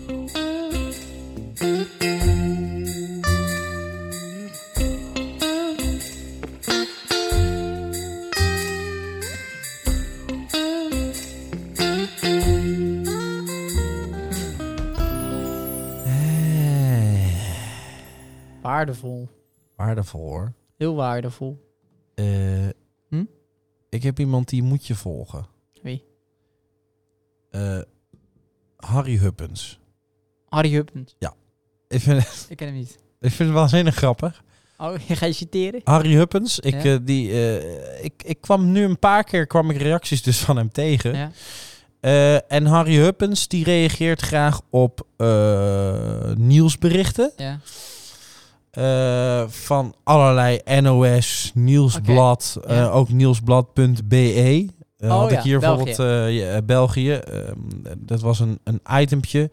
S1: Waardevol.
S2: Waardevol hoor.
S1: Heel waardevol.
S2: Eh,
S1: Hm?
S2: Ik heb iemand die moet je volgen.
S1: Wie?
S2: Eh, Harry Huppens.
S1: Harry Huppens.
S2: Ik vind,
S1: Ik ken hem niet.
S2: ik vind het waanzinnig grappig.
S1: Oh, ga je citeren?
S2: Harry Huppens, ik,
S1: Ja.
S2: eh, die, eh, ik, ik kwam nu een paar keer kwam ik reacties dus van hem tegen.
S1: Ja.
S2: Eh, en Harry Huppens die reageert graag op eh, nieuwsberichten.
S1: Ja.
S2: eh, van allerlei NOS, Nieuwsblad,
S1: Oké, ja.
S2: eh, ook nieuwsblad.be. Eh,
S1: Oh
S2: had
S1: ja,
S2: ik hier
S1: België.
S2: bijvoorbeeld eh, ja, eh, België. ehm, dat was een, een itempje.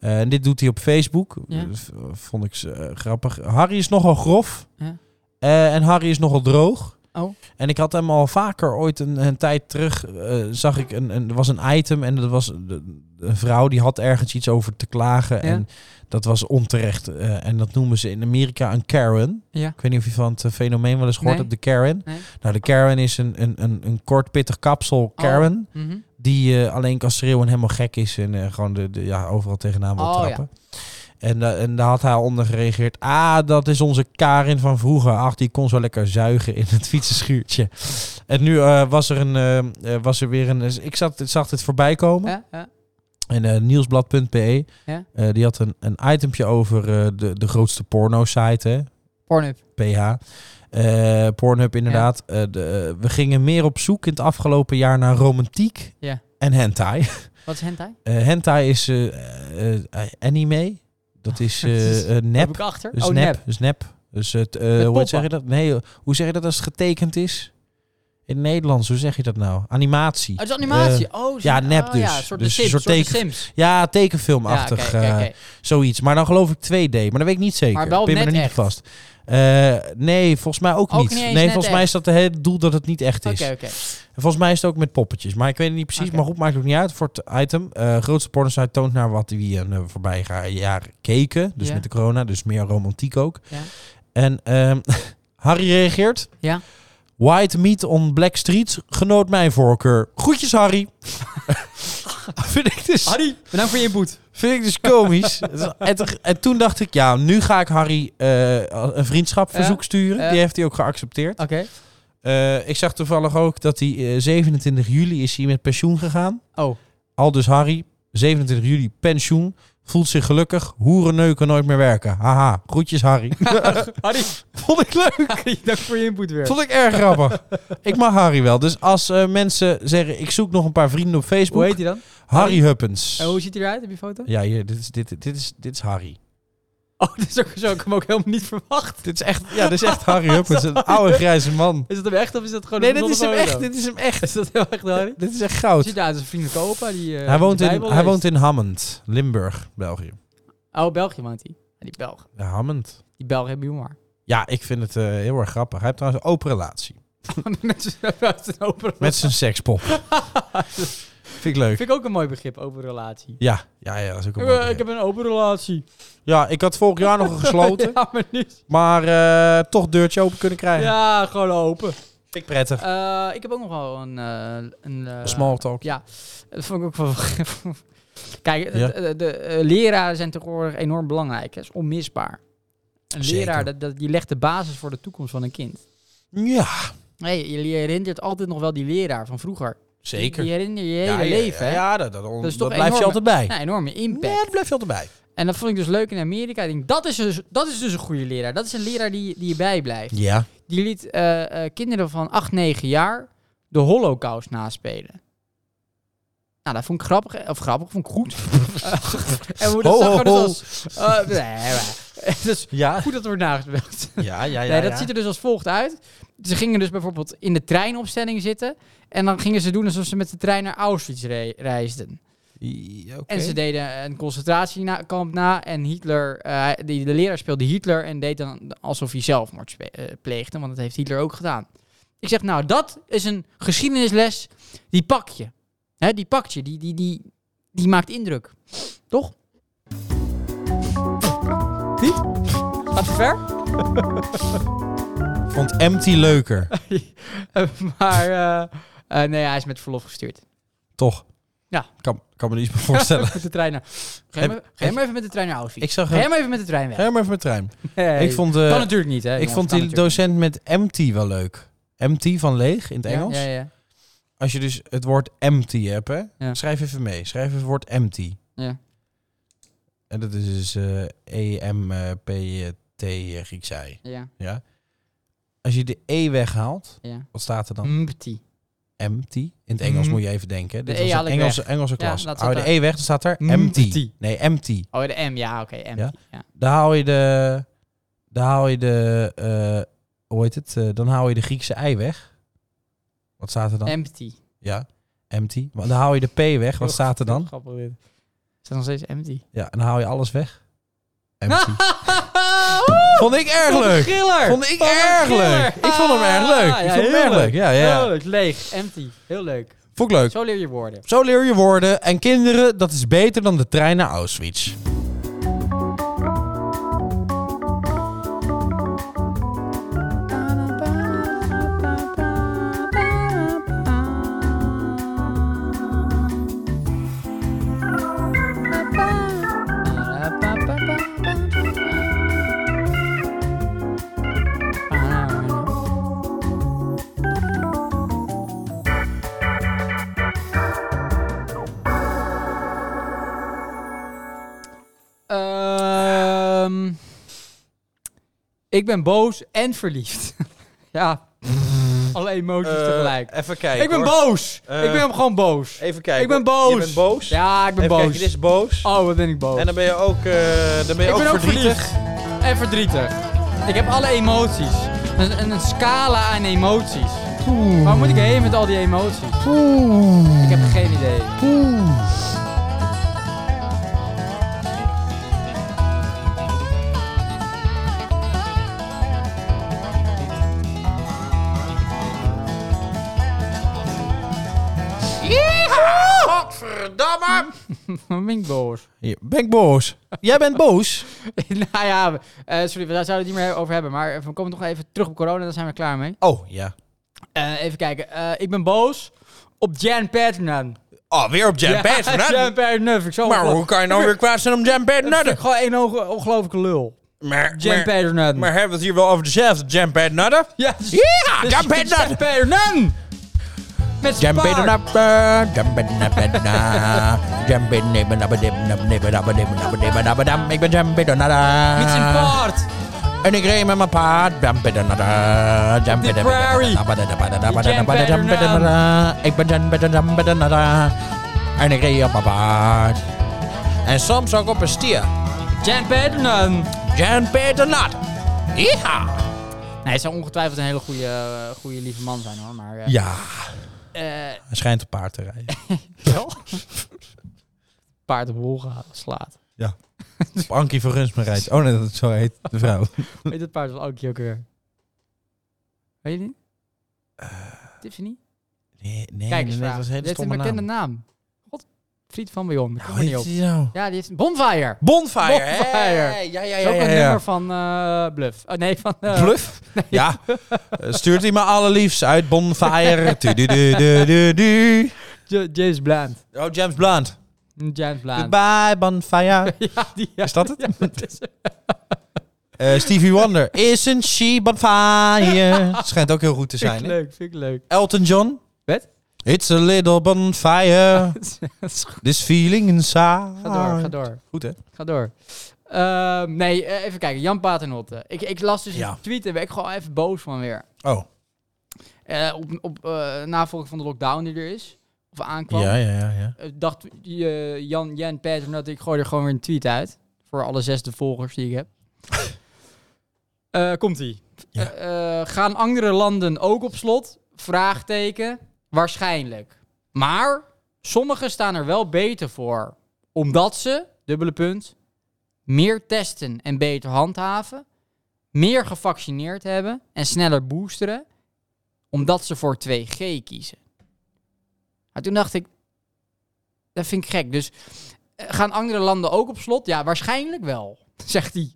S2: Eh, en dit doet hij op Facebook.
S1: Ja.
S2: Eh, v- vond ik eh, grappig. Harry is nogal grof.
S1: Ja.
S2: Eh, en Harry is nogal droog.
S1: Oh.
S2: En ik had hem al vaker ooit een, een tijd terug. eh, zag ik een, een, er was een item en dat was een, een vrouw die had ergens iets over te klagen.
S1: Ja.
S2: En dat was onterecht. eh, en dat noemen ze in Amerika een Karen.
S1: Ja.
S2: Ik weet niet of je van het eh, fenomeen wel eens gehoord
S1: Nee.
S2: hebt, de Karen.
S1: Nee.
S2: Nou, de Karen is een, een, een, een kort pittig kapsel Karen.
S1: Mhm.
S2: Die eh, alleen kan schreeuwen en helemaal gek is. En eh, gewoon de, de, ja, overal tegenaan wil
S1: Oh,
S2: trappen. En, da- en daar had hij onder gereageerd. Ah, dat is onze Karin van vroeger. Ach, die kon zo lekker zuigen in het fietsenschuurtje. En nu eh, was, er een, eh, eh, was er weer een... Ik zat, zag dit voorbij komen.
S1: Ja, ja.
S2: En eh, nieuwsblad.be,
S1: Ja.
S2: eh, die had een, een itempje over eh, de, de grootste porno-site, hè,
S1: Pornhub.
S2: PH. Eh, Pornhub inderdaad. Eh, de, eh, we gingen meer op zoek in het afgelopen jaar naar romantiek
S1: Ja.
S2: en hentai.
S1: Wat is hentai?
S2: Eh, hentai is eh, eh, eh, anime. Dat is
S1: Dat is-
S2: eh, eh,
S1: Heb
S2: nep.
S1: ik achter?
S2: Dus
S1: oh,
S2: nep.
S1: nep.
S2: Dus nep. Dus het, eh, hoe
S1: poppen.
S2: zeg je dat? Nee, eh, hoe zeg je dat als het getekend is? In het Nederlands, hoe zeg je dat nou? Animatie.
S1: Oh, het is animatie.
S2: Eh,
S1: oh, zo-
S2: ja, nep
S1: oh,
S2: dus.
S1: Ja, een soort
S2: Dus
S1: de
S2: een
S1: Sims.
S2: soort
S1: soort de
S2: teken-
S1: Sims.
S2: ja, tekenfilmachtig.
S1: Ja, oké, oké,
S2: eh,
S1: oké.
S2: Zoiets. Maar dan geloof ik 2D. Maar dat weet ik niet zeker.
S1: Maar wel
S2: Pin me
S1: net
S2: er niet
S1: echt.
S2: op vast. Eh, nee, volgens mij ook,
S1: Ook
S2: niet.
S1: niet eens
S2: nee,
S1: net
S2: volgens mij
S1: echt.
S2: is dat het hele doel dat het niet echt is.
S1: Oké, oké.
S2: En volgens mij is het ook met poppetjes. Maar ik weet het niet precies.
S1: Oké.
S2: Maar goed, maakt ook niet uit voor het item. Eh grootste pornosite toont naar wat wie een eh, voorbij ga- jaar keken. Dus
S1: Ja.
S2: met de corona. Dus meer romantiek ook.
S1: Ja.
S2: En ehm, Harry reageert.
S1: Ja.
S2: White meat on black streets genoot mijn voorkeur. Groetjes, Harry. Vind ik dus...
S1: Harry, bedankt voor je input.
S2: Vind ik dus komisch. en, te- en toen dacht ik, ja, nu ga ik Harry eh, een vriendschapverzoek
S1: Ja,
S2: sturen.
S1: ja.
S2: Die heeft hij ook geaccepteerd.
S1: Oké.
S2: Eh, ik zag toevallig ook dat hij eh, 27 juli is hij met pensioen gegaan.
S1: Oh.
S2: Al dus Harry, 27 juli pensioen. Voelt zich gelukkig. Hoerenneuken nooit meer werken. Haha, groetjes Harry.
S1: Harry,
S2: Vond ik leuk.
S1: Harry, dank voor je input weer.
S2: Vond ik erg grappig. ik mag Harry wel. Dus als eh, mensen zeggen, ik zoek nog een paar vrienden op
S1: Hoe
S2: Facebook.
S1: heet hij dan?
S2: Harry Oh, Huppens.
S1: En hoe ziet hij eruit? Heb je een foto?
S2: Ja, hier, dit, is, dit, dit, is, dit is Harry.
S1: Oh, dat is ook zo. Ik heb hem ook helemaal niet verwacht.
S2: Dit is echt, ja, dit is echt Harry Huppens, een oude grijze man.
S1: Is dat hem echt of is dat gewoon
S2: Nee,
S1: een
S2: dit Oh, is hem
S1: verzonnen
S2: echt,
S1: foto?
S2: dit is hem echt.
S1: Is dat heel echt Harry?
S2: Dit is echt
S1: Hij
S2: goud.
S1: zit daar als een vriendelijke opa. Die, eh,
S2: Hij woont
S1: de
S2: in,
S1: Bijbel
S2: hij
S1: leest.
S2: woont in Hammond, Limburg, België.
S1: Oh, België woont hij. Ja, Die Belgen.
S2: Ja, Hammond.
S1: Die Belgen hebben humor.
S2: Ja, ik vind het eh, heel erg grappig. Hij heeft trouwens een open relatie.
S1: Met z'n- met z'n open
S2: Met zijn sekspop. vind ik leuk.
S1: Vind ik ook een mooi begrip, open relatie.
S2: Ja, ja, ja, dat is ook een
S1: Ik,
S2: mooi
S1: eh, ik
S2: idee.
S1: heb een open relatie.
S2: Ja, ik had vorig jaar nog een gesloten,
S1: ja, maar niet.
S2: maar eh, toch deurtje open kunnen krijgen.
S1: Ja, gewoon open.
S2: Vind ik prettig.
S1: Eh, ik heb ook nog wel een... eh een eh,
S2: Small talk.
S1: Ja, dat vond ik ook wel... Kijk, het-
S2: Ja.
S1: de, de, eh, leraren zijn tegenwoordig enorm belangrijk. Dat is onmisbaar. Een
S2: Zeker.
S1: leraar, dat, dat, die legt de basis voor de toekomst van een kind.
S2: Ja,
S1: Nee, je je herinnert altijd nog wel die leraar van vroeger.
S2: zeker.
S1: Die herinner je je
S2: ja,
S1: hele
S2: ja,
S1: leven,
S2: Ja,
S1: hè?
S2: ja, dat, dat,
S1: Dat is
S2: dat
S1: toch
S2: blijft je
S1: enorm.
S2: altijd bij.
S1: Nou, enorme impact.
S2: Ja, dat blijft je altijd bij.
S1: En dat vond ik dus leuk in Amerika. Ik denk, dat is dus, dat is dus een goede leraar. Dat is een leraar die, die je bijblijft.
S2: Ja.
S1: Die liet eh, eh, kinderen van 8, 9 jaar de holocaust naspelen. Nou, dat vond ik grappig. Of grappig, vond ik goed. Eh, en hoe dat
S2: Ho,
S1: zag
S2: ho,
S1: er dus
S2: ho.
S1: als... eh, nee, maar, het is
S2: Ja,
S1: goed dat er wordt nagespeeld.
S2: ja, ja. ja,
S1: nee, dat
S2: ja.
S1: ziet er dus als volgt uit. Ze gingen dus bijvoorbeeld in de treinopstelling zitten. En dan gingen ze doen alsof ze met de trein naar Auschwitz re- reisden.
S2: I- oké.
S1: En ze deden een concentratiekamp na. En Hitler, eh, hij- die, de leraar speelde Hitler en deed dan alsof hij zelfmoord spe- eh, pleegde. Want dat heeft Hitler ook gedaan. Ik zeg, nou, dat is een geschiedenisles. Die pak je. Hè, die pakt je. Die, die, die, die maakt indruk. Toch? Die? Gaat het ver?
S2: Vond Empty leuker,
S1: Eh, maar eh, eh, nee, hij is met verlof gestuurd.
S2: toch?
S1: Ja.
S2: Kan, kan me er iets bij voorstellen.
S1: met de trein naar... Ga, je
S2: Heb-
S1: maar, ga je maar even met de trein naar Auschwitz.
S2: Ik zag
S1: Ga
S2: hem-
S1: jij maar even met de trein weg.
S2: Ga maar even met trein.
S1: Nee.
S2: Ik vond, eh,
S1: kan natuurlijk niet, hè.
S2: ik
S1: jongens,
S2: vond
S1: kan
S2: die
S1: natuurlijk
S2: docent met empty wel leuk. Empty van leeg in het
S1: niet. Ja,
S2: Engels.
S1: Ja, ja,
S2: Als je dus het woord empty hebt, hè?
S1: Ja.
S2: schrijf even mee. Schrijf even het woord empty.
S1: ja.
S2: En dat is dus E-M-P-T Grieks ei.
S1: Ja,
S2: Ja? Als je de E weghaalt,
S1: ja.
S2: wat staat er dan?
S1: Mpty.
S2: Empty. In het Engels
S1: Mm.
S2: moet je even denken. hè. Dit
S1: De E
S2: was
S1: haal
S2: een
S1: ik
S2: Engelse, Engelse klas.
S1: laat
S2: Hou je de
S1: zitten.
S2: E weg, dan staat er
S1: Empty.
S2: empty. Nee, empty.
S1: Oh, de M. Ja, oké. M.
S2: Ja.
S1: Ja.
S2: Dan haal je de... Dan haal je de... eh, hoe heet het? Eh, dan haal je de Griekse ei weg. Wat staat er dan?
S1: Empty.
S2: ja, empty. Maar Dan haal je de P weg. Wat staat er dan?
S1: Grappig dit. Is dat nog steeds empty?
S2: Ja, en dan haal je alles weg. Empty. Vond ik erg leuk. Vond ik erg leuk. Ik vond hem erg leuk. Ik vond hem erg leuk. Ja, ja.
S1: Ah, Leuk, leeg, empty. Heel leuk.
S2: Vond ik leuk.
S1: Zo leer je woorden.
S2: Zo leer je woorden. En kinderen, dat is beter dan de trein naar Auschwitz.
S1: Ehm, ik ben boos en verliefd. ja. Alle emoties tegelijk.
S2: Eh, even kijken.
S1: Ik ben boos.
S2: Eh,
S1: ik ben gewoon boos.
S2: Even kijken.
S1: ik ben
S2: hoor.
S1: boos.
S2: Je bent boos.
S1: Ja, ik ben
S2: Even
S1: boos.
S2: kijken, dit is boos.
S1: Oh, wat ben ik boos.
S2: En dan ben je ook, eh, dan ben je
S1: ik
S2: ook
S1: ben ook
S2: verdrietig.
S1: verliefd. En verdrietig. Ik heb alle emoties. Een, een, een scala aan emoties. Waar moet ik heen met al die emoties? Ik heb geen idee. Wat ben ik boos?
S2: Hier, Ben ik boos? Jij bent boos?
S1: nou ja, eh, sorry, we daar zouden het niet meer over hebben. Maar we komen nog even terug op corona, daar zijn we klaar mee.
S2: Oh, ja.
S1: Eh, even kijken. Eh, ik ben boos op Jan Paternan.
S2: Oh, weer op Jan
S1: Ja,
S2: Paternotte?
S1: Jan Paternan vind ik zo
S2: Maar hoe kan je nou weer kwaad zijn om Jan
S1: Dat vind
S2: Paternotte?
S1: ik Gewoon één onge- ongelofelijke lul.
S2: Maar,
S1: Jan
S2: maar,
S1: Paternan.
S2: maar hebben we het hier wel over dezelfde Jan Paternotte?
S1: Ja, dus-
S2: Ja,
S1: dus-
S2: Jan
S1: dus
S2: Paternotte.
S1: Jan Paternan! Met zijn
S2: Jump in
S1: paard.
S2: a jump in a jump in a Ik ben jump in
S1: Met zijn paard.
S2: En ik reed met mijn paard. Jump in a jump in Ik ben jump in jump in En ik reed op mijn paard. En soms ook op een stier.
S1: Jan Paternan.
S2: Jump in nat. Ja.
S1: Nee, hij zou ongetwijfeld een hele goede, eh, goede lieve man zijn hoor. Maar eh,
S2: Ja.
S1: eh,
S2: Hij schijnt op paard te rijden.
S1: wel. Paard op hol gehaald, slaat.
S2: Ja. Op Ankie van Runsma rijdt. Oh nee, dat zo heet de vrouw.
S1: Weet dat paard van Ankie ook weer? Weet je niet? Tiffany?
S2: Eh, Nee, nee,
S1: Kijk
S2: nee,
S1: eens,
S2: nee,
S1: vraag.
S2: dat is
S1: Dit
S2: een hele
S1: heeft een
S2: stomme
S1: bekende
S2: naam.
S1: naam. God, Fried van Beyond. Ik kom
S2: Hoe
S1: er niet
S2: heet
S1: op.
S2: die nou?
S1: Ja, die heeft een bonfire.
S2: Bonfire, hè?
S1: Bonfire.
S2: Ja, ja,
S1: Dat is
S2: ja.
S1: ook
S2: ja,
S1: een
S2: ja.
S1: nummer van eh, Bluff. Oh nee, van... eh,
S2: Bluff? Ja. Eh, Stuurt hij me allerliefst uit Bonfire. Du, du, du, du, du, du.
S1: Ja- James Blunt.
S2: Oh, James Blunt.
S1: Mm, James Blunt.
S2: Ah. Goodbye, Bonfire.
S1: Ja, die, ja.
S2: Is dat het?
S1: Ja, dat is het.
S2: Eh, Stevie Wonder. Isn't she bonfire? Schijnt ook heel goed te
S1: Vind ik
S2: zijn. hè?
S1: leuk, vind ik leuk.
S2: Elton John.
S1: Wat?
S2: It's a little bonfire.
S1: Dat is goed.
S2: This feeling inside.
S1: Ga door, ga door.
S2: Goed, hè?
S1: Ga door. Ehm, nee, eh, even kijken. Jan Paternotte. Ik, ik las dus
S2: Ja.
S1: een tweet en ben ik gewoon even boos van weer.
S2: Oh.
S1: Eh, op op eh, navolging van de lockdown die er is. Of aankwam.
S2: Ja, ja, ja. ja.
S1: Eh, dacht eh, Jan, Jan Paternotte, ik gooi er gewoon weer een tweet uit. Voor alle zesde volgers die ik heb. Eh, Komt-ie.
S2: Ja.
S1: Eh, eh, gaan andere landen ook op slot? Vraagteken. Waarschijnlijk. Maar sommigen staan er wel beter voor. Omdat ze, dubbele punt, meer testen en beter handhaven. Meer gevaccineerd hebben en sneller boosteren. Omdat ze voor 2G kiezen. Maar toen dacht ik, dat vind ik gek. Dus eh, gaan andere landen ook op slot? Ja, waarschijnlijk wel, zegt hij.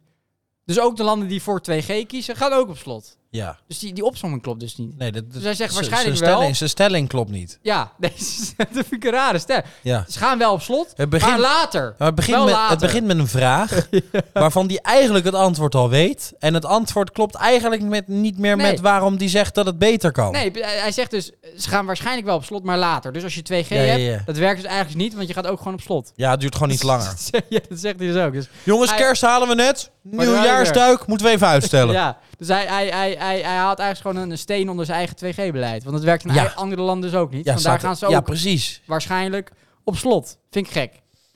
S1: Dus ook de landen die voor 2G kiezen, gaan ook op slot.
S2: Ja.
S1: Dus die, die opzomming klopt dus niet.
S2: Nee, dat, dat-
S1: Dus hij zegt
S2: ze-
S1: waarschijnlijk
S2: zijn Stelling,
S1: wel.
S2: zijn stelling klopt niet.
S1: Ja, nee, dat vind ik een rare ster.
S2: Ja.
S1: Ze gaan wel op slot,
S2: Het begint-
S1: maar later.
S2: Maar het, begint
S1: Wel
S2: met,
S1: later.
S2: het begint met een vraag waarvan die eigenlijk het antwoord al weet. En het antwoord klopt eigenlijk met, niet meer
S1: Nee.
S2: met waarom die zegt dat het beter kan.
S1: Nee, hij hij zegt dus, ze gaan waarschijnlijk wel op slot, maar later. Dus als je 2G
S2: Ja, ja,
S1: hebt,
S2: ja.
S1: dat werkt dus eigenlijk niet, want je gaat ook gewoon op slot.
S2: Ja, het duurt gewoon niet langer.
S1: ja, dat zegt hij dus ook. Dus,
S2: Jongens,
S1: Hij-
S2: kerst halen we net.
S1: Maar daar-
S2: Nieuwjaarsduik moeten we even uitstellen.
S1: ja, dus hij, hij, hij, hij, hij haalt eigenlijk gewoon een steen onder zijn eigen 2G-beleid. Want dat werkt in
S2: Ja.
S1: ei- andere landen dus ook niet.
S2: Ja,
S1: Want daar
S2: staat-
S1: gaan ze
S2: ja
S1: ook
S2: precies.
S1: waarschijnlijk op slot. Vind ik gek.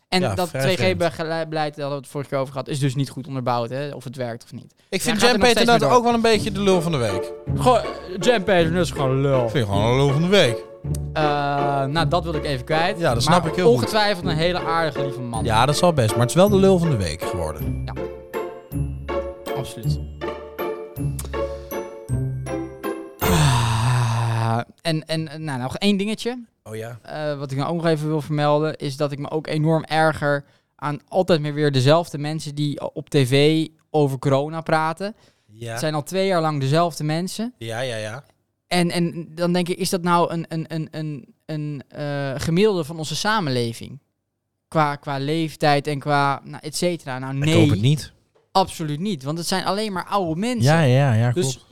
S1: En
S2: Ja,
S1: dat
S2: vrij
S1: 2G-beleid, daar hadden we het vorige keer over gehad, is dus niet goed onderbouwd, hè, of het werkt of niet.
S2: Ik
S1: Hij
S2: vind
S1: gaat er
S2: Jam Peter
S1: nog steeds
S2: inderdaad
S1: mee
S2: ook wel een beetje de lul van de week. Ik
S1: Goh, Jam Peter is gewoon lul.
S2: vind gewoon de lul van de week.
S1: Eh, nou, dat wil ik even kwijt.
S2: Ja, dat
S1: Maar
S2: snap ik heel goed.
S1: Ongetwijfeld een hele aardige, lieve man.
S2: Ja, dat zal best, maar het is wel de lul van de week geworden.
S1: Absoluut. Ah, en en nou, nog één dingetje.
S2: Oh ja?
S1: eh, wat ik nou ook nog even wil vermelden. Is dat ik me ook enorm erger aan altijd meer weer dezelfde mensen die op tv over corona praten. Het
S2: Ja,
S1: zijn al twee jaar lang dezelfde mensen.
S2: ja, ja. ja.
S1: En, en dan denk ik, is dat nou een, een, een, een, een eh, gemiddelde van onze samenleving? Qua, qua leeftijd en qua nou, et cetera. Nou nee,
S2: Ik hoop het niet.
S1: absoluut niet. Want het zijn alleen maar oude mensen.
S2: Ja, ja, ja, klopt.
S1: Dus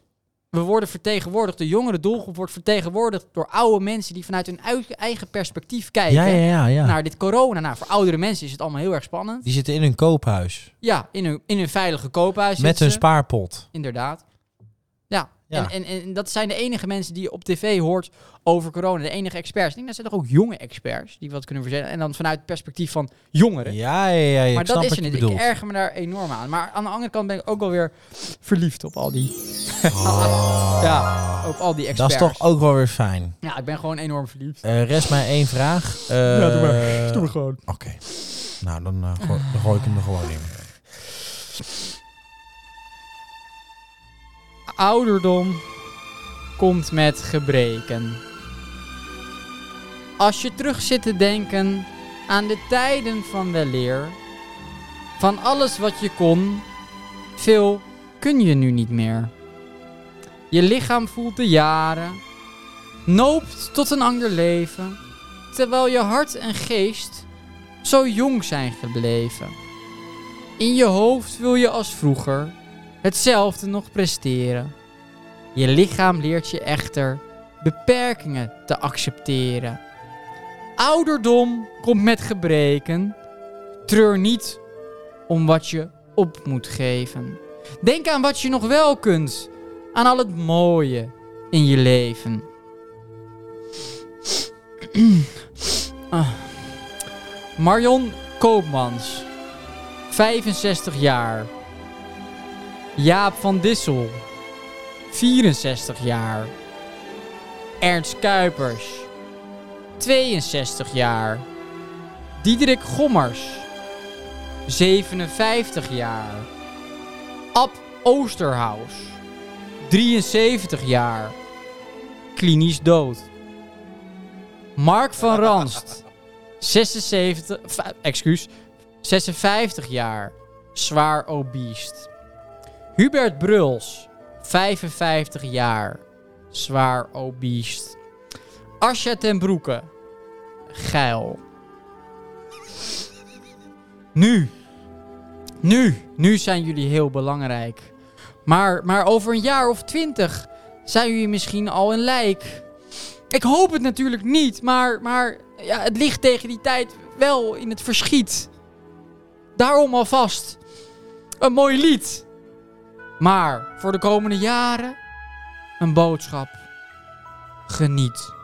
S1: we worden vertegenwoordigd, de jongere doelgroep wordt vertegenwoordigd door oude mensen die vanuit hun ui- eigen perspectief kijken
S2: ja, ja, ja, ja.
S1: naar dit corona. Nou, voor oudere mensen is het allemaal heel erg spannend.
S2: Die zitten in hun koophuis.
S1: Ja, in hun, in hun veilige koophuis
S2: Met
S1: zitten
S2: hun
S1: ze.
S2: spaarpot.
S1: Inderdaad. Ja,
S2: Ja.
S1: En, en, en dat zijn de enige mensen die je op tv hoort over corona. De enige experts. Ik denk, dat zijn toch ook jonge experts die wat kunnen verzinnen. En dan vanuit het perspectief van jongeren.
S2: Ja, ja, ja. ja,
S1: maar
S2: ik
S1: dat
S2: snap
S1: is
S2: wat
S1: er
S2: je
S1: niet.
S2: bedoelt.
S1: Ik erger me daar enorm aan. Maar aan de andere kant ben ik ook wel weer verliefd op al die... ja, op al die
S2: Oh. Dat
S1: experts.
S2: is toch ook wel weer fijn.
S1: Ja, ik ben gewoon enorm verliefd.
S2: Eh, rest mij één vraag. Eh,
S1: Ja, doe maar. Doe maar gewoon.
S2: Oké. Nou, dan, eh, gooi,
S1: Ah.
S2: dan gooi ik hem er gewoon in.
S1: Ouderdom komt met gebreken. Als je terug zit te denken aan de tijden van weleer, van alles wat je kon, veel kun je nu niet meer. Je lichaam voelt de jaren, noopt tot een ander leven, terwijl je hart en geest zo jong zijn gebleven. In je hoofd wil je als vroeger hetzelfde nog presteren. Je lichaam leert je echter beperkingen te accepteren. Ouderdom komt met gebreken. Treur niet om wat je op moet geven. Denk aan wat je nog wel kunt, aan al het mooie in je leven. Ah. Marion Koopmans, 65 jaar. Jaap van Dissel, 64 jaar. Ernst Kuipers, 62 jaar. Diederik Gommers, 57 jaar. Ab Oosterhaus, 73 jaar. Klinisch dood. Mark van Ranst, 76, fa- excuus, 56 jaar. Zwaar obiest. Hubert Bruls, 55 jaar, zwaar obiest. Asja ten Broeke, geil. Nu, nu, nu zijn jullie heel belangrijk. Maar, maar over een jaar of twintig zijn jullie misschien al een lijk. Ik hoop het natuurlijk niet, maar, maar ja, het ligt tegen die tijd wel in het verschiet. Daarom alvast een mooi lied. Maar voor de komende jaren een boodschap. Geniet.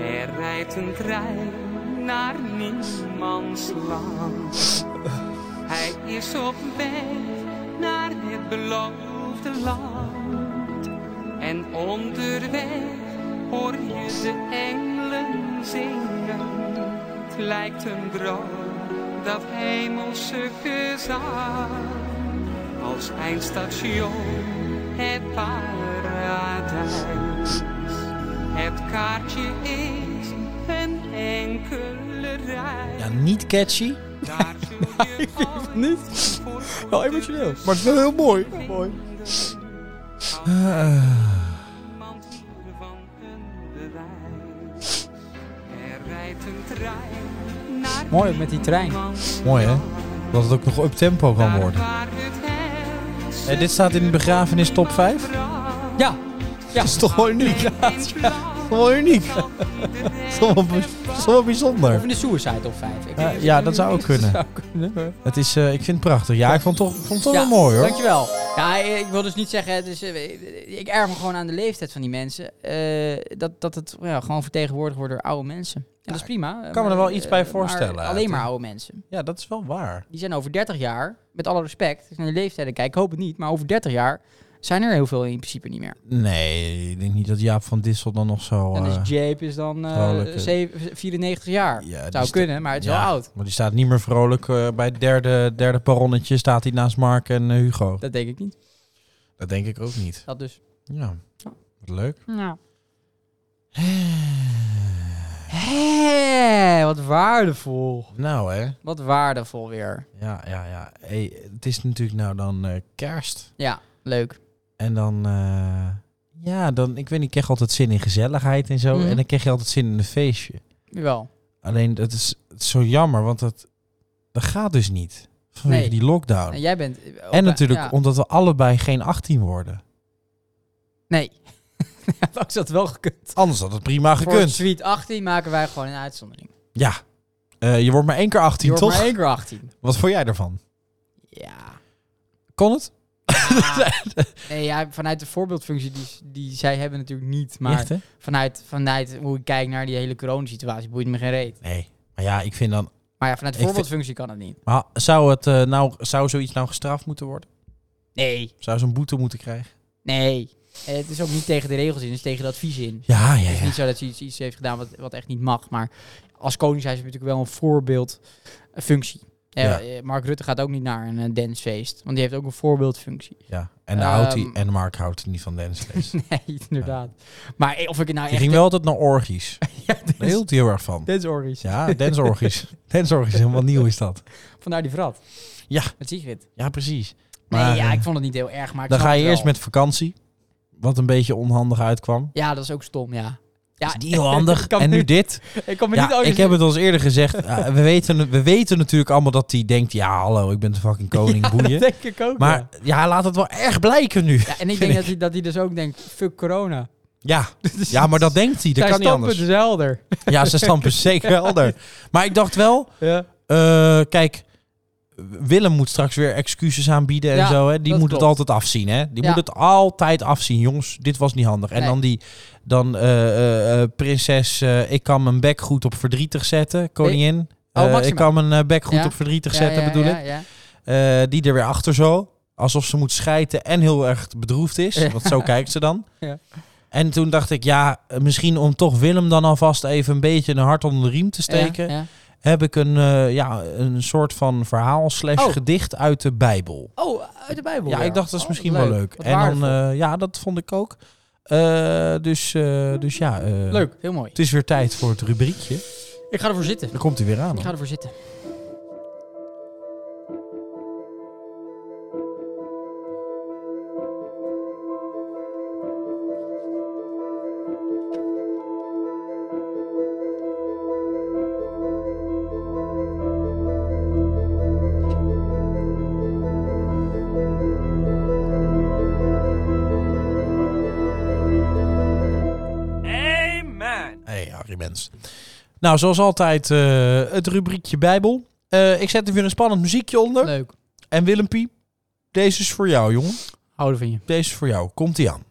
S6: Er rijdt een trein naar niemands land. Hij is op weg naar het beloofde land. En onderweg hoor je de engelen zingen. Het lijkt een droom, dat hemelse gezang. Als eindstation het paradijs. Het kaartje is een enkele rij.
S2: Ja, niet catchy.
S6: Daar zul je alles
S1: Niet?
S6: voor
S1: Wel emotioneel.
S2: Maar het is wel heel mooi.
S6: niemand hier van een bewijs. Er rijdt een trein naar
S1: Mooi ook met die trein.
S6: niemands
S2: Mooi, hè?
S6: land.
S2: Dat het ook nog up-tempo kan
S6: Daar
S2: worden.
S6: waar het herfst
S2: Hey, dit staat in de begrafenis top 5.
S6: brandt.
S1: Ja. Ja,
S2: Dat is toch wel uniek?
S6: En in blauw
S2: Wel uniek.
S6: zal
S2: Dat is wel
S6: iedereen
S2: bij- dat is wel
S1: Of
S2: bijzonder.
S1: in de Suicide Top 5. Ik
S2: Ja,
S1: denk
S2: Eh, ja, dat zou ook kunnen.
S1: zou kunnen.
S2: Het is, eh, ik vind het prachtig. Ja, ik vond het toch, vond het toch wel mooi hoor.
S1: Dankjewel. Ja, ik wil dus niet zeggen, dus, ik erg me gewoon aan de leeftijd van die mensen. eh, dat, dat het ja, gewoon vertegenwoordigd wordt door oude mensen. En dat is prima. Ik
S2: kan me er wel iets bij voorstellen,
S1: alleen
S2: eigenlijk.
S1: maar oude mensen.
S2: Ja, dat is wel waar.
S1: Die zijn over 30 jaar, met alle respect, als ik naar de leeftijden kijk, ik hoop het niet, maar over 30 jaar zijn er heel veel in principe niet meer.
S2: Nee, ik denk niet dat Jaap van Dissel dan nog zo...
S1: Dan
S2: eh,
S1: is Jape is dan eh,
S2: Vrolijke.
S1: zeven- 94 jaar.
S2: Ja, die
S1: Zou
S2: sta-
S1: kunnen, maar het is
S2: ja,
S1: wel oud.
S2: Maar die staat niet meer vrolijk. eh, bij het derde, derde paronnetje staat hij naast Mark en eh, Hugo.
S1: Dat denk ik niet.
S2: Dat denk ik ook niet.
S1: Dat dus.
S2: Ja, wat leuk.
S1: Nou. Hé, wat waardevol.
S2: Nou hè.
S1: Wat waardevol weer.
S2: Ja, ja, ja. Hey, het is natuurlijk nou dan eh, kerst.
S1: Ja, leuk.
S2: En dan... eh, ja, dan, ik weet niet, ik krijg altijd zin in gezelligheid en zo.
S1: Mhm.
S2: En dan krijg je altijd zin in een feestje.
S1: Jawel.
S2: Alleen dat is het is zo jammer, want dat, dat gaat dus niet. Vanwege
S1: Nee.
S2: die lockdown.
S1: En
S2: Oh. En,
S1: jij bent... eh, ook-
S2: natuurlijk
S1: ja.
S2: omdat we allebei geen 18 worden.
S1: Nee. Had ik dat wel gekund.
S2: Anders had het prima
S1: Voor
S2: gekund.
S1: Suite 18 maken wij gewoon een uitzondering.
S2: Ja. Eh, je wordt maar één keer 18,
S1: Je wordt
S2: toch?
S1: maar één keer 18.
S2: Wat vond jij daarvan?
S1: Ja.
S2: Kon het?
S1: Nee, ja, vanuit de voorbeeldfunctie die, die zij hebben natuurlijk niet. Maar
S2: Echt, hè?
S1: vanuit, vanuit hoe ik kijk naar die hele coronasituatie boeit me geen reet.
S2: Nee. Maar ja, ik vind dan...
S1: Maar ja, vanuit de
S2: Ik vind-
S1: voorbeeldfunctie kan het niet.
S2: Maar zou, het, eh, nou, zou zoiets nou gestraft moeten worden?
S1: Nee.
S2: Zou ze een boete moeten krijgen?
S1: Nee. En het is ook niet tegen de regels in, het is tegen de adviezen in.
S2: Ja, ja,
S1: Het is
S2: ja.
S1: niet zo dat ze iets, iets heeft gedaan wat, wat echt niet mag. Maar als koning zijn ze natuurlijk wel een voorbeeldfunctie. Eh,
S2: Ja.
S1: eh, Mark Rutte gaat ook niet naar een eh, dancefeest. Want die heeft ook een voorbeeldfunctie.
S2: ja. En, houdt hij,
S1: Ehm.
S2: en Mark houdt niet van dancefeest.
S1: nee, inderdaad. Maar eh, of ik het nou
S2: Hij
S1: echt...
S2: ging wel altijd naar orgies.
S1: Ja,
S2: Daar hield hij heel erg van.
S1: danceorgies.
S2: Ja, dansorgies. dansorgies, helemaal nieuw is dat.
S1: Vandaar die vrat.
S2: Ja.
S1: Met Sigrid.
S2: Ja, precies.
S1: nee, ja,
S2: eh,
S1: ik vond het niet heel erg. Maar ik
S2: dan
S1: snap
S2: ga je
S1: het
S2: eerst
S1: wel.
S2: met vakantie. Wat een beetje onhandig uitkwam.
S1: Ja, dat is ook stom, ja. ja
S2: Is niet heel handig.
S1: ik kan
S2: En nu
S1: niet-
S2: dit.
S1: Ik kan me niet
S2: Ja,
S1: anders-
S2: ik heb het al eens eerder gezegd. Eh, we, weten, we weten natuurlijk allemaal dat hij denkt... Ja, hallo, ik ben de fucking koning, boeien.
S1: Dat denk ik ook,
S2: maar
S1: ja.
S2: ja, laat het wel erg blijken nu.
S1: Ja, en ik
S2: vind
S1: denk
S2: ik.
S1: dat hij, dat hij dus ook denkt, fuck corona.
S2: Ja, ja maar dat denkt hij. Dat
S1: Zijn
S2: kan niet
S1: standpunt
S2: anders.
S1: is helder.
S2: Ja, zijn standpunt is zeker helder. Maar ik dacht wel...
S1: Ja.
S2: eh, kijk, Willem moet straks weer excuses aanbieden en
S1: Ja,
S2: zo. Hè. Die
S1: dat
S2: moet het
S1: klopt.
S2: altijd afzien. Hè. Die
S1: Ja.
S2: moet het altijd afzien. Jongens, dit was niet handig. En
S1: Nee.
S2: dan die dan, eh, eh, eh, prinses, eh, ik kan mijn bek goed op verdrietig zetten. Koningin,
S1: Oh,
S2: eh, ik
S1: Maxima.
S2: kan mijn eh, bek goed
S1: Ja.
S2: op verdrietig zetten, bedoel ik.
S1: Ja, ja.
S2: Eh, die er weer achter zo. Alsof ze moet schijten en heel erg bedroefd is.
S1: Ja.
S2: Want zo kijkt ze dan.
S1: Ja.
S2: En toen dacht ik, ja, misschien om toch Willem dan alvast even een beetje een hart onder de riem te steken
S1: Ja, ja.
S2: heb ik een, eh, ja, een soort van verhaal slash
S1: Oh.
S2: gedicht uit de Bijbel.
S1: Oh, uit de Bijbel.
S2: Ja,
S1: weer.
S2: ik dacht dat is
S1: Oh,
S2: misschien wel leuk.
S1: Wat
S2: En dan,
S1: waardevol.
S2: eh, ja, dat vond ik ook. Eh, dus, eh, dus ja, eh,
S1: leuk, heel mooi.
S2: het is weer tijd voor het rubriekje.
S1: Ik ga ervoor zitten.
S2: Dan komt hij weer aan.
S1: Ik ga ervoor zitten.
S2: Hey, Harry Mens. Nou, zoals altijd, eh, het rubriekje Bijbel. Eh, ik zet er weer een spannend muziekje onder.
S1: Leuk.
S2: En Willempie, deze is voor jou, jongen.
S1: Houden van je.
S2: Deze is voor jou. Komt ie aan.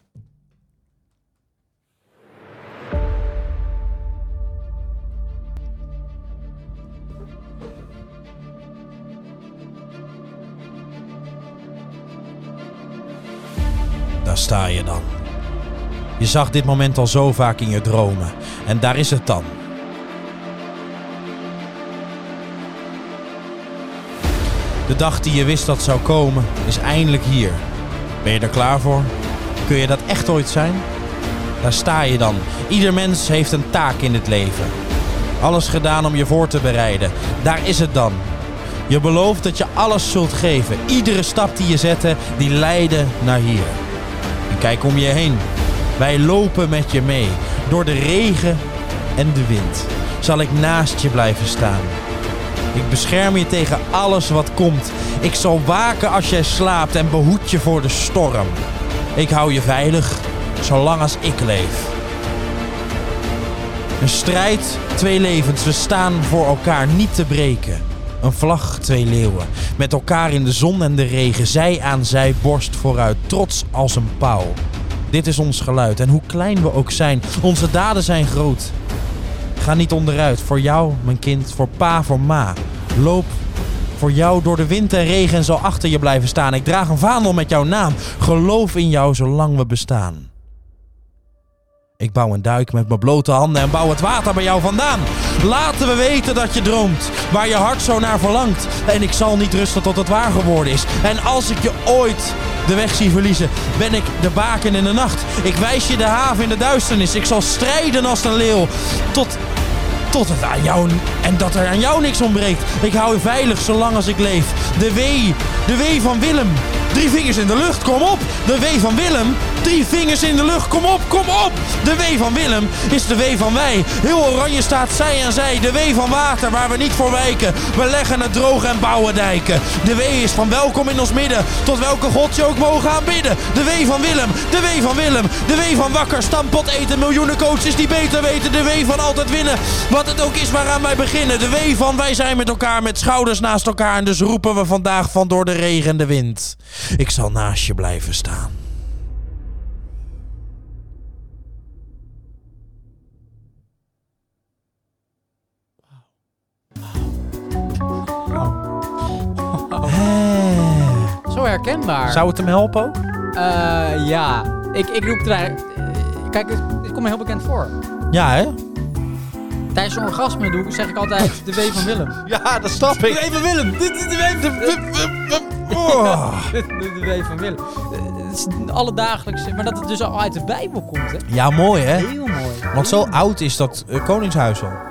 S2: Daar sta je dan. Je zag dit moment al zo vaak in je dromen. En daar is het dan. De dag die je wist dat zou komen, is eindelijk hier. Ben je er klaar voor? Kun je dat echt ooit zijn? Daar sta je dan. Ieder mens heeft een taak in het leven. Alles gedaan om je voor te bereiden. Daar is het dan. Je belooft dat je alles zult geven. Iedere stap die je zette, die leidde naar hier. En kijk om je heen. Wij lopen met je mee. Door de regen en de wind zal ik naast je blijven staan. Ik bescherm je tegen alles wat komt. Ik zal waken als jij slaapt en behoed je voor de storm. Ik hou je veilig, zolang als ik leef. Een strijd, twee levens. We staan voor elkaar niet te breken. Een vlag, twee leeuwen. Met elkaar in de zon en de regen. Zij aan zij, borst vooruit. Trots als een pauw. Dit is ons geluid. En hoe klein we ook zijn, onze daden zijn groot. Ga niet onderuit. Voor jou, mijn kind. Voor pa, voor ma. Loop voor jou door de wind en regen en zal achter je blijven staan. Ik draag een vaandel met jouw naam. Geloof in jou zolang we bestaan. Ik bouw een duik met mijn blote handen en bouw het water bij jou vandaan. Laten we weten dat je droomt, waar je hart zo naar verlangt. En ik zal niet rusten tot het waar geworden is. En als ik je ooit de weg zie verliezen, ben ik de baken in de nacht. Ik wijs je de haven in de duisternis. Ik zal strijden als een leeuw. Tot, tot het aan jou en dat er aan jou niks ontbreekt. Ik hou je veilig zolang als ik leef. De W, de W van Willem. Drie vingers in de lucht, kom op. De W van Willem. Drie vingers in de lucht, kom op, kom op. De W van Willem is de W van wij. Heel oranje staat zij aan zij. De W van water waar we niet voor wijken. We leggen het droog en bouwen dijken. De W is van welkom in ons midden. Tot welke god je ook mogen aanbidden. De W van Willem, de W van Willem. De W van wakker, stampot eten. Miljoenen coaches die beter weten. De W van altijd winnen. Wat het ook is waaraan wij beginnen. De W van wij zijn met elkaar, met schouders naast elkaar. En dus roepen we vandaag van door de regen en de wind. Ik zal naast je blijven staan. Hè.
S1: Zo herkenbaar.
S2: Zou het hem helpen ook?
S1: Eh, ja, ik, ik roep het eruit. Eh, Kijk, het, het komt me heel bekend voor.
S2: Ja, hè?
S1: Tijdens een orgasme doe, ik- zeg ik altijd de W van Willem.
S2: Ja, dat snap ik.
S1: van Willem! De,
S2: Oh.
S1: W van Willem. Eh, Het is alledaags, maar dat het dus al uit de Bijbel komt, hè?
S2: Ja, mooi, hè?
S1: Heel mooi.
S2: Want zo oud is dat eh, koningshuis al.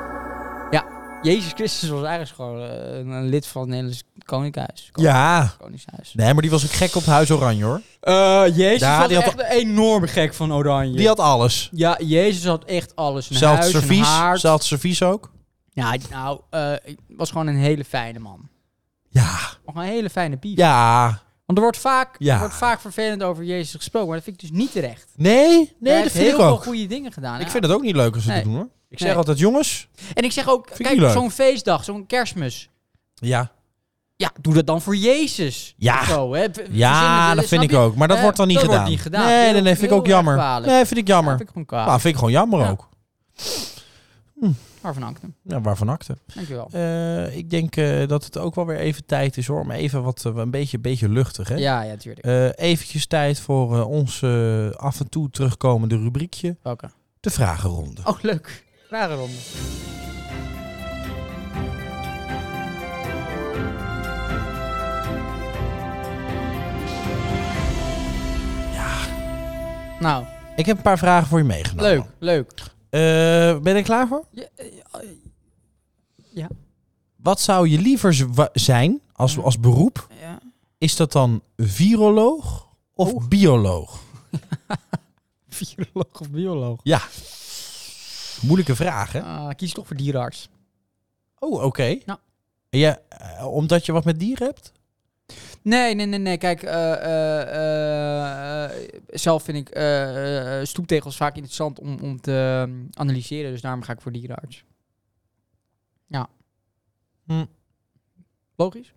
S1: Jezus Christus was eigenlijk gewoon eh, een- een lid van het Nederlands Koninkhuis. Kon-
S2: Ja.
S1: Koningshuis.
S2: Nee, maar die was ook gek op Huis Oranje, hoor.
S1: Eh, Jezus
S2: Ja,
S1: was
S2: die had
S1: echt enorm gek van Oranje.
S2: Die had alles.
S1: Ja, Jezus had echt alles. Een
S2: Zelfs
S1: huis, een
S2: servies.
S1: haard.
S2: Zelfs servies ook.
S1: Ja, hij- nou, eh, was gewoon een hele fijne man.
S2: Ja.
S1: Nog een hele fijne piep.
S2: Ja.
S1: Want er wordt vaak,
S2: Ja.
S1: er wordt vaak vervelend over Jezus gesproken, maar dat vind ik dus niet terecht.
S2: Nee, nee,
S1: Hij
S2: dat
S1: heeft
S2: vind ik
S1: heel veel
S2: ook.
S1: goede dingen gedaan.
S2: Ik
S1: ja.
S2: vind het ook niet leuk als ze
S1: Nee.
S2: dat doen, hoor. Ik zeg
S1: Nee.
S2: altijd, jongens.
S1: En ik zeg ook,
S2: Vind ik niet
S1: kijk,
S2: leuk.
S1: zo'n feestdag, zo'n kerstmis.
S2: Ja.
S1: Ja, doe dat dan voor Jezus.
S2: Ja.
S1: Of Zo, hè. Verzin
S2: Ja,
S1: het-
S2: dat
S1: snap
S2: vind ik
S1: je?
S2: ook. Maar dat
S1: Eh,
S2: wordt dan niet
S1: dat
S2: gedaan.
S1: wordt niet gedaan.
S2: Nee, nee,
S1: Heel-
S2: nee, vind ik ook
S1: heel erg
S2: jammer.
S1: kwalijk.
S2: Nee, vind ik
S1: Ja,
S2: jammer.
S1: vind ik gewoon kwaad.
S2: Nou, vind ik gewoon jammer
S1: Ja.
S2: ook.
S1: Maar van Ankten,
S2: Ja, waarvan akte.
S1: dankjewel.
S2: Eh, ik denk eh, dat het ook wel weer even tijd is hoor. Om even wat eh, een beetje, beetje luchtig. Hè?
S1: Ja, ja, tuurlijk.
S2: Eh, eventjes tijd voor eh, ons eh, af en toe terugkomende rubriekje.
S1: Welke?
S2: De vragenronde.
S1: Oh, leuk. Rare ronde. Ja. Nou,
S2: Ik heb een paar vragen voor je meegenomen.
S1: leuk, leuk.
S2: Eh, ben je er klaar voor?
S1: Ja, eh,
S2: Wat zou je liever z- wa- zijn als, als beroep?
S1: ja.
S2: Is dat dan viroloog of bioloog?
S1: Viroloog of bioloog?
S2: Moeilijke vraag, hè?
S1: Ah, kies toch voor dierenarts.
S2: Oh, oké.
S1: Ja.
S2: En jij, eh, omdat je wat met dieren hebt?
S1: Nee, nee, nee, nee. Kijk, eh, eh, eh, eh, zelf vind ik eh, eh, stoeptegels vaak interessant om, om te ehm, analyseren. Dus daarom ga ik voor dierenarts. Ja.
S2: Hm.
S1: Logisch?